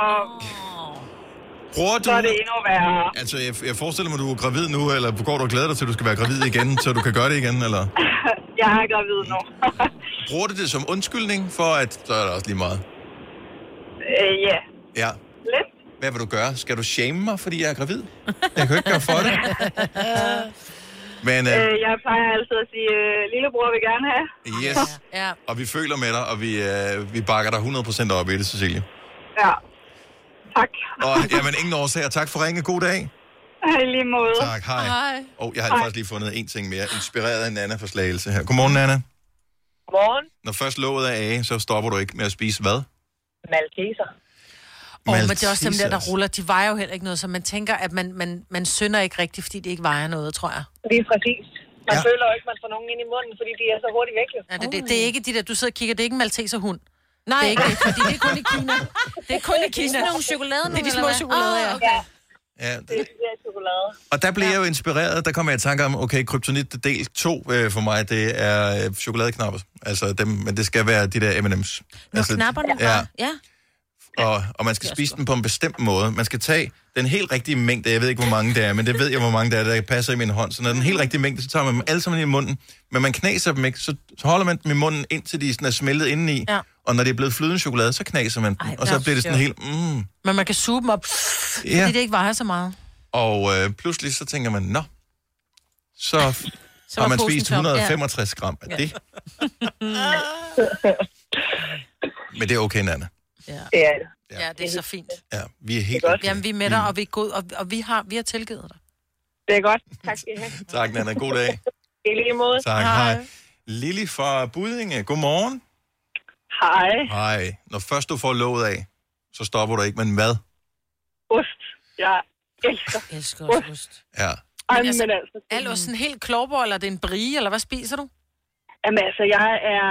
Bruger du... så er det endnu værre. Altså, jeg, jeg forestiller mig, du er gravid nu, eller går du og glæder dig til, at du skal være gravid igen, så du kan gøre det igen, eller? Jeg er gravid nu. Bruger du det som undskyldning for, at så er der også lige meget? Øh, ja. Ja. Lidt. Hvad vil du gøre? Skal du shame mig, fordi jeg er gravid? Jeg kan jo ikke gøre for det. Men øh, Øh, jeg plejer altid at sige, øh, lillebror vil gerne have. yes, Ja. og vi føler med dig, og vi, øh, vi bakker dig 100% op i det, Cecilie. Ja. Og jamen, ingen årsager. Tak for ringe. God dag. I lige måde. Tak, hej. Hej. Og jeg har faktisk lige fundet en ting mere, inspireret af Nana fra Slagelse her. Godmorgen, Nana. Godmorgen. Når først låget er af, så stopper du ikke med at spise hvad? Malteser. Og men det er også dem der, der Maltesers. ruller. De vejer jo heller ikke noget, så man tænker, at man, man, man synder ikke rigtigt, fordi de ikke vejer noget, tror jeg. Lige præcis. Man Ja. ja. føler jo ikke, man får nogen ind i munden, fordi de er så hurtigt væk. Ja, Det, det, det er ikke de der, du sidder og kigger, det er ikke en malteserhund. Nej, det er ikke det, fordi det er kun i Kina. Det er kun i Det Kina. er sådan nogle chokolade Det er de nogle, små eller hvad? chokolader, ja. Ah, okay. Ja, Det er de der chokolade. Og der blev jeg jo inspireret, der kom jeg i tanke om, okay, kryptonit del 2 øh, for mig, det er øh, chokoladeknapper. Altså dem, men det skal være de der M&M's. Nå, altså, knapperne Ja, bare. Ja. og, og man skal spise dem på en bestemt måde. Man skal tage den helt rigtige mængde, jeg ved ikke, hvor mange det er, men det ved jeg, hvor mange der er, der passer i min hånd. Så når den Mm. helt rigtige mængde, så tager man dem alle sammen i munden, men man knaser dem ikke, så holder man dem i munden, indtil de sådan er smeltet indeni. Ja. Og når det er blevet flydende chokolade, så knaser man dem, Ej, og hvor så bliver det sådan sjovt. helt, mm, Men man kan suge dem op, fordi Ja. det ikke vejer så meget. Og øh, pludselig så tænker man, nå, så, så var har man posen spist tom, ja. 165 gram af det. Mm. Ah. Men det er okay, Nana. Ja. Det er det. Ja, det er så fint. Ja, vi er helt Okay. okay. Jamen, vi er Mm. med dig, og vi er god, og, og vi, har, vi har tilgivet dig. Det er godt. Tak skal I have. Tak, Nana. God dag. I lige måde. Tak, hej. Lilly fra Budinge, godmorgen. Hej. Hej. Når først du får låget af, så stopper du ikke, men mad. Ost. Jeg elsker. Jeg elsker også ost. Ja. Ej, Men altså, men altså, Al osten helt klogborg, eller er det en brie, eller hvad spiser du? Jamen altså, jeg er...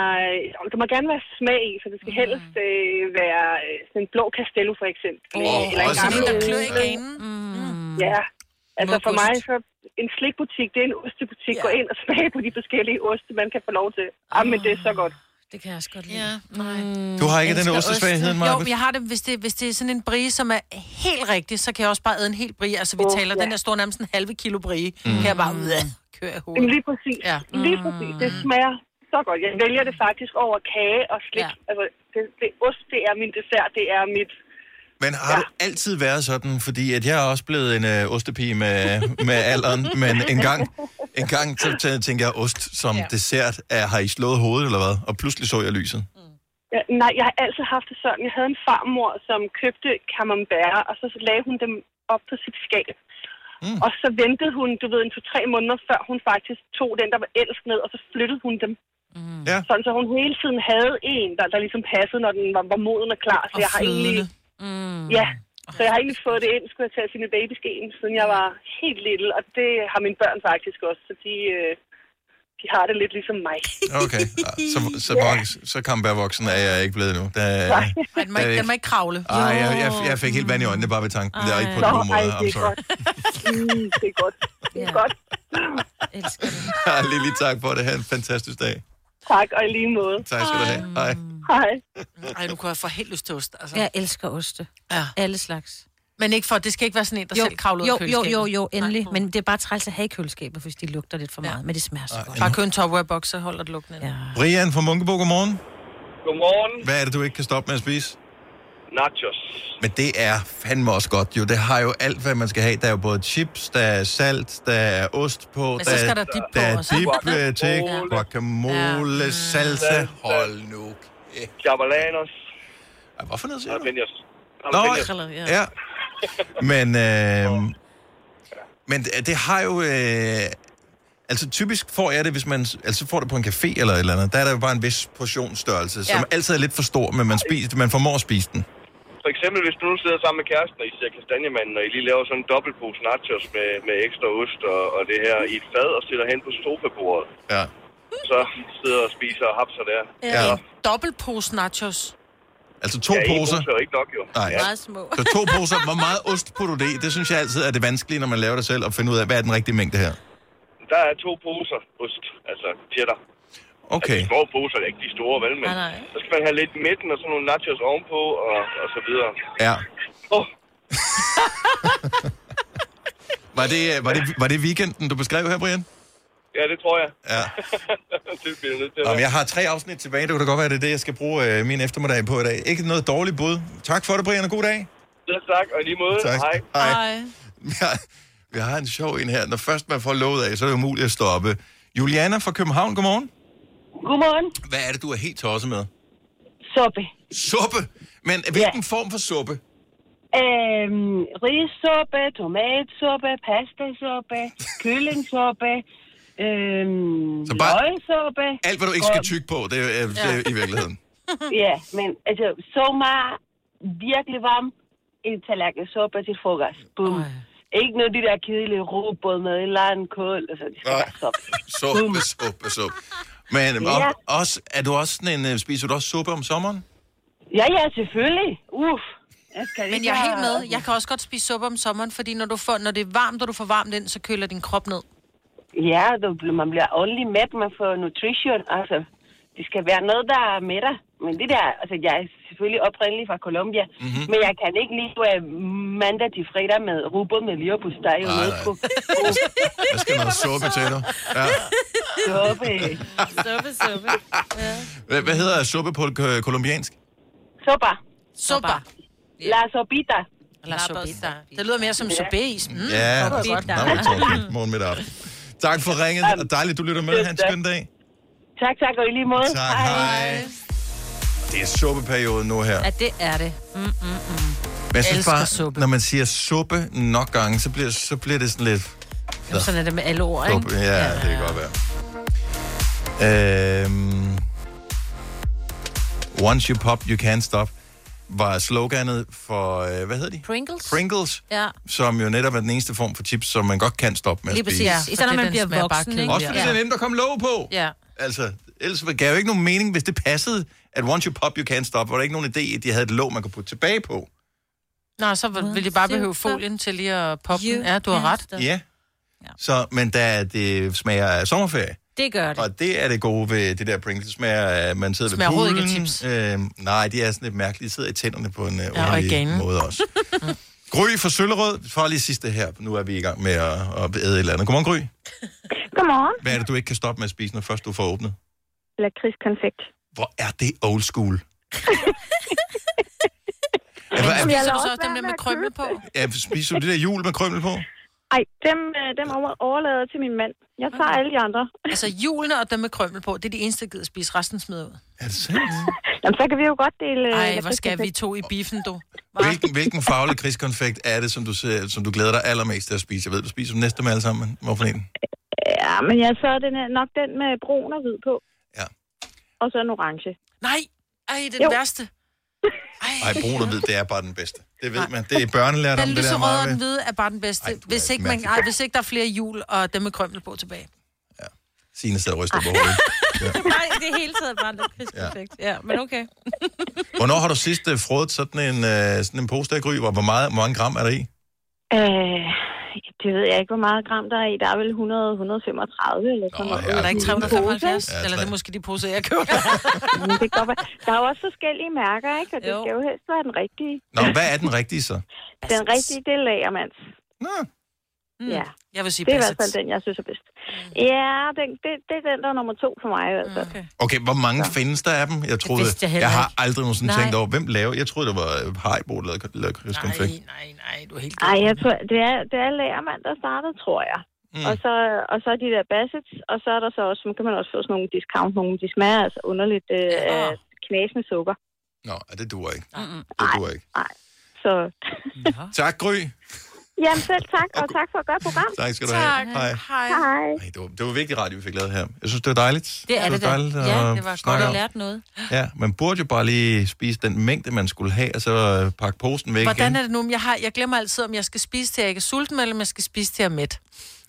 om Der må gerne være smag i, så det Mhm. skal helst øh, være øh, sådan en blå castello, for eksempel. Åh, også sådan en, der klør i kanen. Mm. Ja. Altså for mig, så en slikbutik, det er en ostebutik. Ja. Gå ind og smag på de forskellige oste, man kan få lov til. Jamen, men det er så godt. Ah. Det kan jeg også godt lide. Ja, nej. Du har ikke den Elsker der ostesvaghed, osten. Jo, Marcus? men jeg har det, hvis det, hvis det er sådan en brie, som er helt rigtig, så kan jeg også bare æde en hel brie. Altså, vi Åh, taler, ja. den der står nærmest en halve kilo brie. Mm. Mm. Kan jeg bare ud af køre i hovedet. Jamen, lige præcis. Ja. Lige præcis. Det smager så godt. Jeg vælger det faktisk over kage og slik. Ja. Altså, det, det, ost, det er min dessert. Det er mit... Men har ja. du altid været sådan? Fordi at jeg er også blevet en øh, ostepige med, med alderen, men en gang, en gang så tæ- tænkte jeg, ost som ja. dessert, er, har I slået hovedet eller hvad? Og pludselig så jeg lyset. Ja, nej, jeg har altid haft det sådan. Jeg havde en farmor, som købte camembert, og så lagde hun dem op på sit skab. Mm. Og så ventede hun, du ved, en to-tre måneder, før hun faktisk tog den, der var ældst ned, og så flyttede hun dem. Mm. Ja. Sådan, så hun hele tiden havde en, der, der ligesom passede, når den var, var moden og klar. Så Og jeg har egentlig... Mhm. Mm. Ja, så jeg har egentlig fået det ind, skulle jeg tage sine babyskeen, siden jeg var helt lille, og det har mine børn faktisk også, så de, øh, de de har det lidt ligesom mig. Okay, så, så, voksen, så kampervoksen er jeg ikke blevet nu. Der, Nej, den må ikke, der er den ikke- må ikke kravle. Øh, Ej, jeg, jeg, jeg fik helt vand i øjnene bare ved tanken. Det er ikke på Ej. den gode Nå, ej, måde. det I'm er sorry. Mm, det er godt. Det er godt. Lili, tak for det. Ha' en fantastisk dag. Tak, og i lige måde. Tak skal du have. Hej. Hej. Ej, nu kunne jeg få helt lyst til ost. Altså. Jeg elsker oste. Ja. Alle slags. Men ikke for, det skal ikke være sådan en, der jo, selv kravler ud jo, af jo, køleskabet. Mm. jo, jo, endelig. Men det er bare træls at have i køleskabet, hvis de lugter lidt for meget. Men det smager så godt. Bare køb en topware-boks, så holder det lugten ind. Ja. Brian fra Munkebo, godmorgen. Godmorgen. Hvad er det, du ikke kan stoppe med at spise? Nachos. Men det er fandme også godt, jo. Det har jo alt, hvad man skal have. Der er jo både chips, der er salt, der er ost på. Men så er- skal der dip på Der er også. dip øh, til Guacamole. guacamole, salsa. Hold nu. Jabalanos. Hvorfor noget siger du? Jalapenos. Nå, ja. Men, øh, men det- det har jo... Øh, altså typisk får jeg det, hvis man altså får det på en café eller et eller andet. Der er der jo bare en vis portionsstørrelse, ja. som altid er lidt for stor, men man, spiser, man formår at spise den. For eksempel, hvis du nu sidder sammen med kæresten, og I ser kastanjemanden, og I lige laver sådan en dobbeltpose nachos med, med ekstra ost og, og det her i et fad, og sætter hen på sofabordet. Ja. Så sidder og spiser og hapser der. Ja. En Øh, dobbeltpose nachos. Altså to ja, en poser. pose er jo ikke nok, jo. Nej. Meget små. Så to poser. Hvor meget ost putter du det i? Det synes jeg altid er det vanskelige, når man laver det selv, at finde ud af, hvad er den rigtige mængde her. Der er to poser ost, altså cheddar. Altså, Okay. De små poser, det er ikke de store, vel? Men Nej, så skal man have lidt i midten, og så nogle nachos ovenpå, og, og så videre. Ja. Åh. Var det, øh, var, det, var det weekenden, du beskrev her, Brian? Ja, det tror jeg. Ja. det bliver jeg nødt til at Jamen, være. jeg har tre afsnit tilbage. Det kunne da godt være, det er det, jeg skal bruge øh, min eftermiddag på i dag. Ikke noget dårligt bud. Tak for det, Brian, og god dag. Selv tak, og i lige måde. Tak. Hej. Hej. Ja, vi har en sjov en her. Når først man får lovet af, så er det umuligt at stoppe. Juliana fra København, godmorgen. Godmorgen. Hvad er det, du er helt tosset med? Suppe. Suppe? Men hvilken ja. form for suppe? Øhm, rissuppe, tomatsuppe, pastasuppe, kyllingsuppe, øhm, Så bare løgsuppe. Alt, hvad du ikke skal Og- tygge på, det er, øh, det er Ja. i virkeligheden. ja, men altså, så meget virkelig varm en tallerken suppe til frokost. Bum. Ikke noget af de der kedelige rugbrød med et eller andet kål. Altså, det skal være suppe. Suppe, suppe, suppe. Men ja. Ja. og, også, er du også sådan en, øh, spiser du også suppe om sommeren? Ja, ja, selvfølgelig. Uh. Uff. Jeg skal Men ikke jeg er helt have- med. Jeg kan også godt spise suppe om sommeren, fordi når, du får, når det er varmt, og du får varmt ind, så køler din krop ned. Ja, du, bl- man bliver ordentlig mæt, man får nutrition, altså. Det skal være noget, der er med dig. Men det der, altså jeg er selvfølgelig oprindelig fra Colombia, Mhm. mm-hmm. men jeg kan ikke lide øh, mandag til fredag med rugbrød med leverpostej og Nej, noget nej. på. Der skal noget suppe til dig. Ja. Suppe. Suppe, suppe. Hvad, hvad hedder suppe på øh, kolumbiansk? Sopa. Sopa. La sopita. La sopita. Det lyder mere som sorbet mm, Ja, det er godt. Nå, vi tager morgen middag aften. Tak for ringet, og dejligt, du lytter med. Ha' en skøn dag. Tak, tak, og i lige måde. Tak, hej. Det er suppeperiode nu her. Ja, det er det. Mm, mm, mm. Men jeg synes elsker bare, suppe. når man siger suppe nok gange, så bliver, så bliver det sådan lidt... Jamen, sådan er det med alle ord, ikke? Suppe. Ja, det kan godt være. Øhm, Once you pop, you can't stop, var sloganet for, øh, hvad hed de? Pringles. Pringles, Ja. som jo netop er den eneste form for chips, som man godt kan stoppe med Lige at præcis. spise. Ja, Især når fordi man den bliver smager bare voksen, ikke? kedeligt. Også fordi Ja. det er nemt at komme låg på. Ja. Altså, ellers gav jo ikke nogen mening, hvis det passede, at once you pop, you can't stop, var der ikke nogen idé, at de havde et låg, man kunne putte tilbage på. Nå, så vil- vil de bare behøve folien til lige at poppe den. Ja, du har ret. Ja. Så, men da det smager af sommerferie, Det gør det. og det er det gode ved det der Pringles, det smager, af, at man sidder Smager ved overhovedet ikke poolen. af Øh, nej, de er sådan lidt mærkelige, de sidder i tænderne på en Ja, ja, og i underlig ganen. Mm. måde også. Gry fra Søllerød, for lige sidste her, nu er vi i gang med at, at æde et eller andet. Godmorgen, Gry. Godmorgen. Hvad er det, du ikke kan stoppe med at spise, når først du får åbnet? Lakridskonfekt. Hvor er det old school? Spiser du så også dem der med krømmel på? Ja, spiser du det der jul med krømmel på? Ej, dem, øh, dem over- overlader jeg til min mand. Jeg tager alle de andre. Altså, julene og dem med krømmel på, det er de eneste, der gider at spise. Resten smider ud. Er det sandt? Jamen, så kan vi jo godt dele... Ej, øh, hvor skal vi lakridskonfekt. to i biffen, du? Hvilken, hvilken faglig krigskonfekt er det, som du, ser, som du glæder dig allermest til at spise? Jeg ved, du spiser dem næste med alle sammen. Hvorfor en? Ja, men jeg så er den her, nok den med brun og hvid på. Ja. Og så en orange. Nej, ej, det er den værste. Ej, brun og hvid, det er bare den bedste. Det ved man. Det er børnelært om Den det der lyserøde og den meget ved. hvide er bare den bedste. hvis, ikke man, mærkelig. ej, hvis ikke der er flere jul og dem med krømmel på tilbage. Signe sidder og ryster på hovedet. Nej, det er hele tiden bare lidt krigskonflikt. Ja. ja, men okay. Hvornår har du sidst uh, frået sådan en, uh, sådan en pose der gry, hvor, hvor, meget, hvor mange gram er der i? Øh, det ved jeg ikke, hvor meget gram der er i. Der er vel 100, 135 eller sådan noget. Er der ikke 375? Ja, Eller det er måske de poser, jeg køber. Men det kan godt være. Der er jo også forskellige mærker, ikke? Og det jo. skal jo helst være den rigtige. Nå, hvad er den rigtige så? Den rigtige, det er Lagermands. Nå. Mm. Ja. Jeg vil sige det er i Bassett. hvert fald den, jeg synes er bedst. Ja, den, det, det er den, der er nummer to for mig i hvert fald. Okay. Okay, hvor mange ja. findes der af dem? Jeg troede, vidste jeg jeg, heller har ikke. aldrig nogensinde Nej. tænkt over, hvem laver... Jeg troede, det var øh, Haribo, der lavede lakridskonfekt. Nej, nej. Nej, du er helt Ej, jeg tror, det er, det er Lagermand, der startede, tror jeg. Mm. Og, så, og så de der Bassets, og så er der så også, så kan man også få sådan nogle discount, nogle de smager altså underligt øh, af knasende sukker. Nå, ja, det duer ikke. Mm-mm. Det duer ikke. Så Tak, Gry. jamen selv tak, og tak for et godt program. Tak skal du have. Tak. Hej. Hej. Hej. Ej, det, var, det var vigtig radio, vi fik lavet her. Jeg synes, det var dejligt. Det er det, var dejligt da. at Ja, det var godt snakke at om. lært noget. Ja, man burde jo bare lige spise den mængde, man skulle have, og så øh, pakke posen væk igen. Hvordan er det nu? om Jeg, har, jeg glemmer altid, om jeg skal spise til, jeg ikke er sulten, eller om jeg skal spise til, jeg er mæt.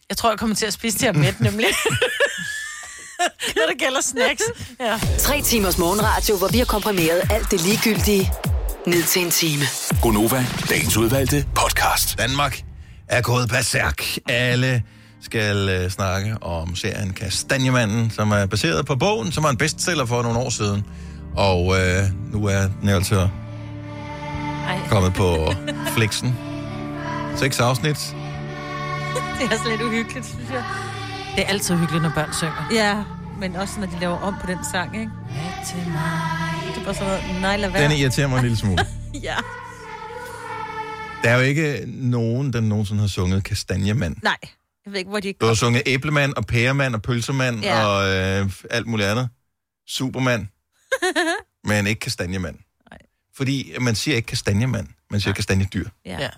Jeg tror, jeg kommer til at spise til, jeg er mæt, nemlig. Når det gælder snacks. Ja. Tre timers morgenradio, hvor vi har komprimeret alt det ligegyldige ned til en time. Gonova, dagens udvalgte podcast. Danmark er gået berserk. Alle skal øh, snakke om serien Kastanjemanden, som er baseret på bogen, som var en bestseller for nogle år siden. Og øh, nu er den altså kommet på Flixen. Seks afsnit. Det er også lidt uhyggeligt, synes jeg. Det er altid hyggeligt, når børn synger. Ja, men også når de laver om på den sang, ikke? Det er bare sådan noget, nej, lad være. Den irriterer mig en lille smule. Ja. Der er jo ikke nogen, der nogensinde har sunget Kastanjemand. Nej, jeg ved ikke, hvor de Du har sunget æblemand og pæremand og pølsemand Ja. ja. og øh, alt muligt andet. Superman, men ikke kastanjemand. Fordi man siger ikke kastanjemand, man siger kastanjedyr. Ja. ja.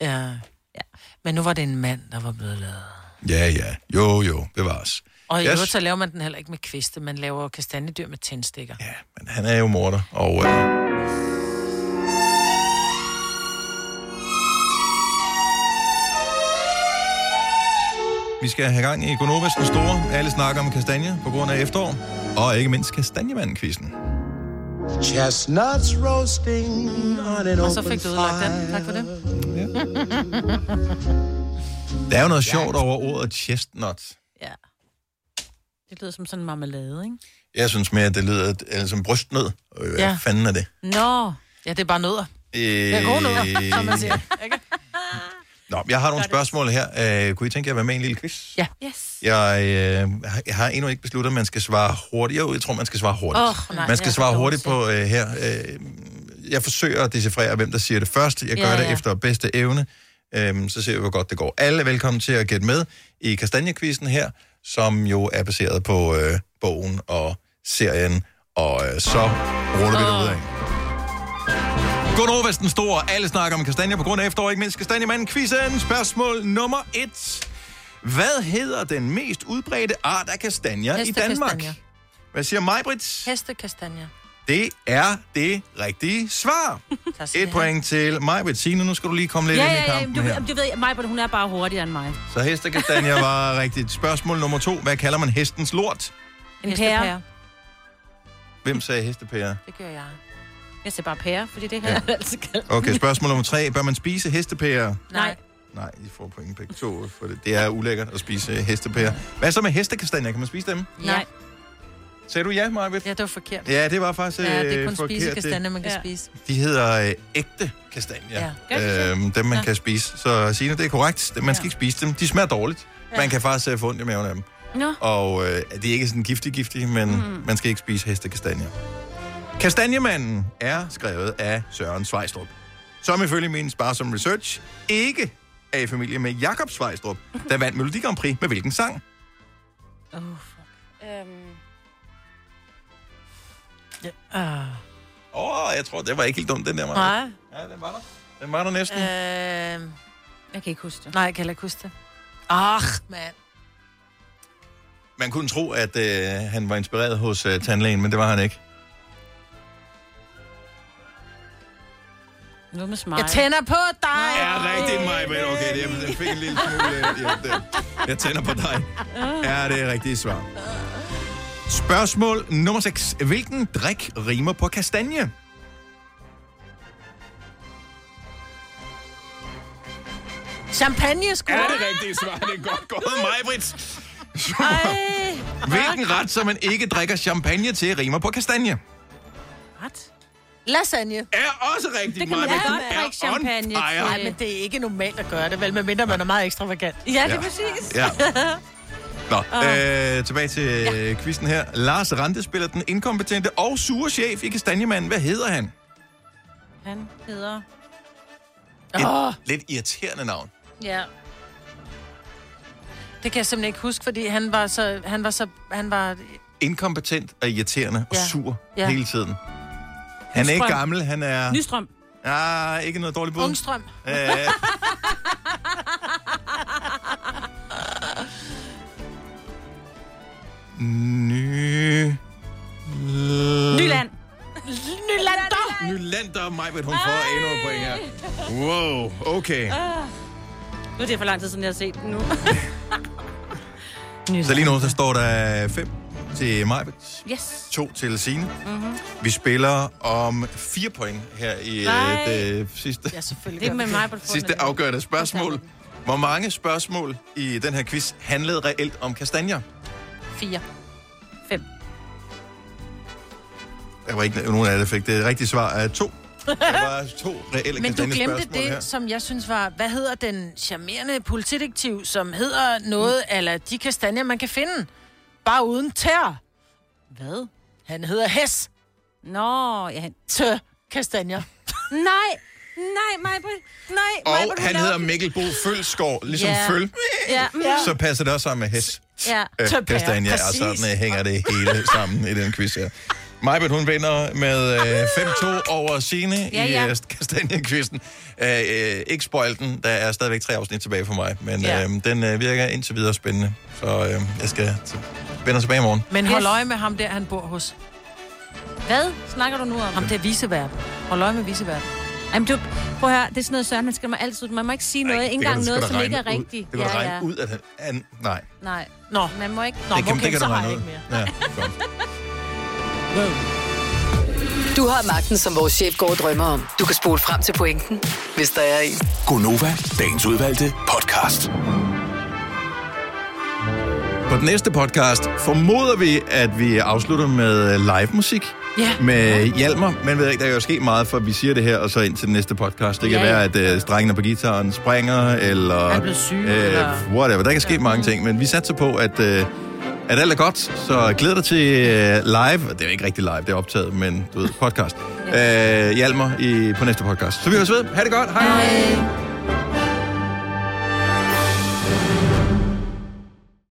Ja. Men nu var det en mand, der var blevet lavet. Ja, ja. Jo, jo. Bevares. Og i Jeg øvrigt, s- så laver man den heller ikke med kviste. Man laver kastanjedyr med tændstikker. Ja. Men han er jo morder, og... Øh, vi skal have gang i Gonovas den store. Alle snakker om kastanje på grund af efterår. Og ikke mindst kastanjemanden-quizzen. Chestnuts roasting on an Og så fik du udlagt den. Tak for det. Der er jo noget sjovt over ordet chestnut. Det lyder som sådan en marmelade, ikke? Jeg synes mere, at det lyder eller, som brystnød. Øh, Hvad Ja. ja. fanden er det? Nå. Ja, det er bare nødder. Øh, Det er gode nødder, som man siger. Ikke? Nå, jeg har nogle spørgsmål her. Øh, kunne I tænke jer at være med i en lille quiz? Ja. Yes. Jeg, øh, har- jeg har endnu ikke besluttet, om man skal svare hurtigt. Jo, jeg tror, man skal svare hurtigt. Åh, nej, man jeg skal er svare dårlig hurtigt til på øh, her. Øh, jeg forsøger at decifrere, hvem der siger det først. Jeg gør Ja, ja, ja. det efter bedste evne. Øhm, så ser vi, hvor godt det går. Alle er velkommen til at gætte med i Kastanjekvisten her, som jo er baseret på øh, bogen og serien. Og øh, så ruller vi det ud af. Godnova den store. Alle snakker om kastanje på grund af efterår, ikke mindst kastanjemanden. Quizzen, spørgsmål nummer et. Hvad hedder den mest udbredte art af kastanjer i Danmark? Hestekastanjer. Hvad siger Majbrit? Hestekastanjer. Det er det rigtige svar. Et point til Majbrit. Signe, nu skal du lige komme lidt ja, ind i ja, ja, kampen du, her. du ved, mig, hun er bare hurtigere end mig. Så hestekastanjer var rigtigt. Spørgsmål nummer to. Hvad kalder man hestens lort? En pære. Hvem sagde hestepære? Det gør jeg. Jeg siger bare pære, fordi det her ja. er altid kaldt. Okay, spørgsmål nummer tre. Bør man spise hestepære? Nej. Nej, I får point begge to, for det, det er ulækkert at spise øh, hestepærer. Hvad så med hestekastanjer? Kan man spise dem? Nej. Sagde du ja, Marvitt? Ja, det var forkert. Ja, det var faktisk Ja, det er kun øh, forkert. spisekastanje, Det- man kan spise. De hedder øh, ægte kastanjer. Ja. Ja. Øhm, dem, man Ja. ja. kan spise. Så Signe, det er korrekt. Man skal ikke spise dem. De smager dårligt. Ja. Ja. Man kan faktisk øh, få ondt i maven af dem. Nå. Og øh, de er ikke sådan giftige-giftige, men Mm. mm. man skal ikke spise hestekastanjer. Kastanjemanden er skrevet af Søren Svejstrup, som ifølge min sparsomme research ikke er i familie med Jakob Svejstrup, der vandt Melodi Grand Prix med hvilken sang? Oh, Øhm. Ja. Uh. Åh, oh, jeg tror, det var ikke helt dumt, den der, Maja. Nej. Ja, den var der. Den var der næsten. Øh, jeg kan ikke huske det. Nej, jeg kan heller ikke huske det. Ach, mand. Man kunne tro, at øh, han var inspireret hos øh, tandlægen, men det var han ikke. Nu med smart. Jeg tænder på dig. Ja, rigtigt, Maja. Okay, det, er- det fik en lille smule... øh, Ja, det. Jeg tænder på dig. Ja, det er rigtige svar. Spørgsmål nummer 6. Hvilken drik rimer på kastanje? Champagne skud. Er det rigtigt svar? Det er godt gået, Majbrit. Ej. Hvilken ret, som man ikke drikker champagne til, rimer på kastanje? Lasagne. Er også rigtigt, Det kan man Maja. da godt Den er drikke on champagne til. fire. Nej, men det er ikke normalt at gøre det, vel? Medmindre man er meget ekstravagant. Ja, det er Ja. præcis. Ja. Nå, øh, tilbage til ja. quizzen her. Lars Rante spiller den inkompetente og sure chef i Kastanjemanden. Hvad hedder han? Han hedder... Et Åh. lidt irriterende navn. Ja. Det kan jeg simpelthen ikke huske, fordi han var så... Han var så... Han var... Inkompetent og irriterende og Ja. sur Ja. hele tiden. Han er ikke Nystrøm. gammel, han er... Nystrøm. Ah, ikke noget dårligt bud. Ungstrøm. Øh, Ny... Nyland. Øh. Nylander. Nylander, Majbet, hun får endnu et point her. Wow, okay. Ah. Nu er det for lang tid siden, jeg har set den nu. Så lige nu, så står der 5 til Majbet, Yes. 2 til Signe. Mm-hmm. Vi spiller om 4 point her i Nej. øh, det sidste, Ja, selvfølgelig. Det er med mig på det sidste afgørende spørgsmål. Hvor mange spørgsmål i den her quiz handlede reelt om kastanjer? Fire. Fem. Der var ikke nogen af jer, der fik det rigtige svar af to. Der var to reelle Men du glemte kastanjespørgsmål det, her. som jeg synes var, hvad hedder den charmerende politidetektiv, som hedder noget, eller de kastanjer, man kan finde, bare uden tær. Hvad? Han hedder Hess. Nå, ja. Tø kastanjer. Nej, nej, Majbrit. Nej, Og Majbrit, hun han laver- hedder Mikkel Bo Følsgaard, ligesom Ja. Føl. Ja. mm. Så passer det også sammen med Hess. Ja. Øh, Tøpære. Kastanje, og Præcis. sådan øh, hænger det hele sammen i den quiz her. Majbet, hun vinder med øh, 5-2 over Signe ja, Ja, ja. ja. i øh, kastanjekvisten. Øh, øh, ikke spoil den, der er stadigvæk tre afsnit tilbage for mig, men Ja. øh, den øh, virker indtil videre spændende. Så øh, jeg skal t- vender tilbage i morgen. Men hold øje med ham der, han bor hos. Hvad snakker du nu om? Ham der viseverden. Hold øje med viseverden. Jamen, du, prøv at høre, det er sådan noget, Søren, man skal mig altid. Man må ikke sige noget, ikke Det kan engang du sgu noget, da som regne ikke er ud. rigtigt. Det kan ja, regne ud, at han... An, nej. Nej. Nå. Man må ikke... det, kan, det kan du regne ud. Ja. Du har magten, som vores chef går og drømmer om. Du kan spole frem til pointen, hvis der er en. Gonova, dagens udvalgte podcast. På den næste podcast formoder vi, at vi afslutter med øh, live musik Ja. med Hjalmar. Men ved ikke, der kan jo ske meget, for vi siger det her, og så ind til den næste podcast. Det kan Ja, være, ja. at øh, strengene på gitaren springer, eller... øh, Er blevet syg, eller- Whatever. Der kan ske mange ting, men vi satser på, at, øh, at alt er godt. Så glæder dig til øh, live. Det er jo ikke rigtig live, det er optaget, men du ved, podcast. Øh, Hjalmar i, på næste podcast. Så vi høres ved. Ha' det godt. Hej. Hej.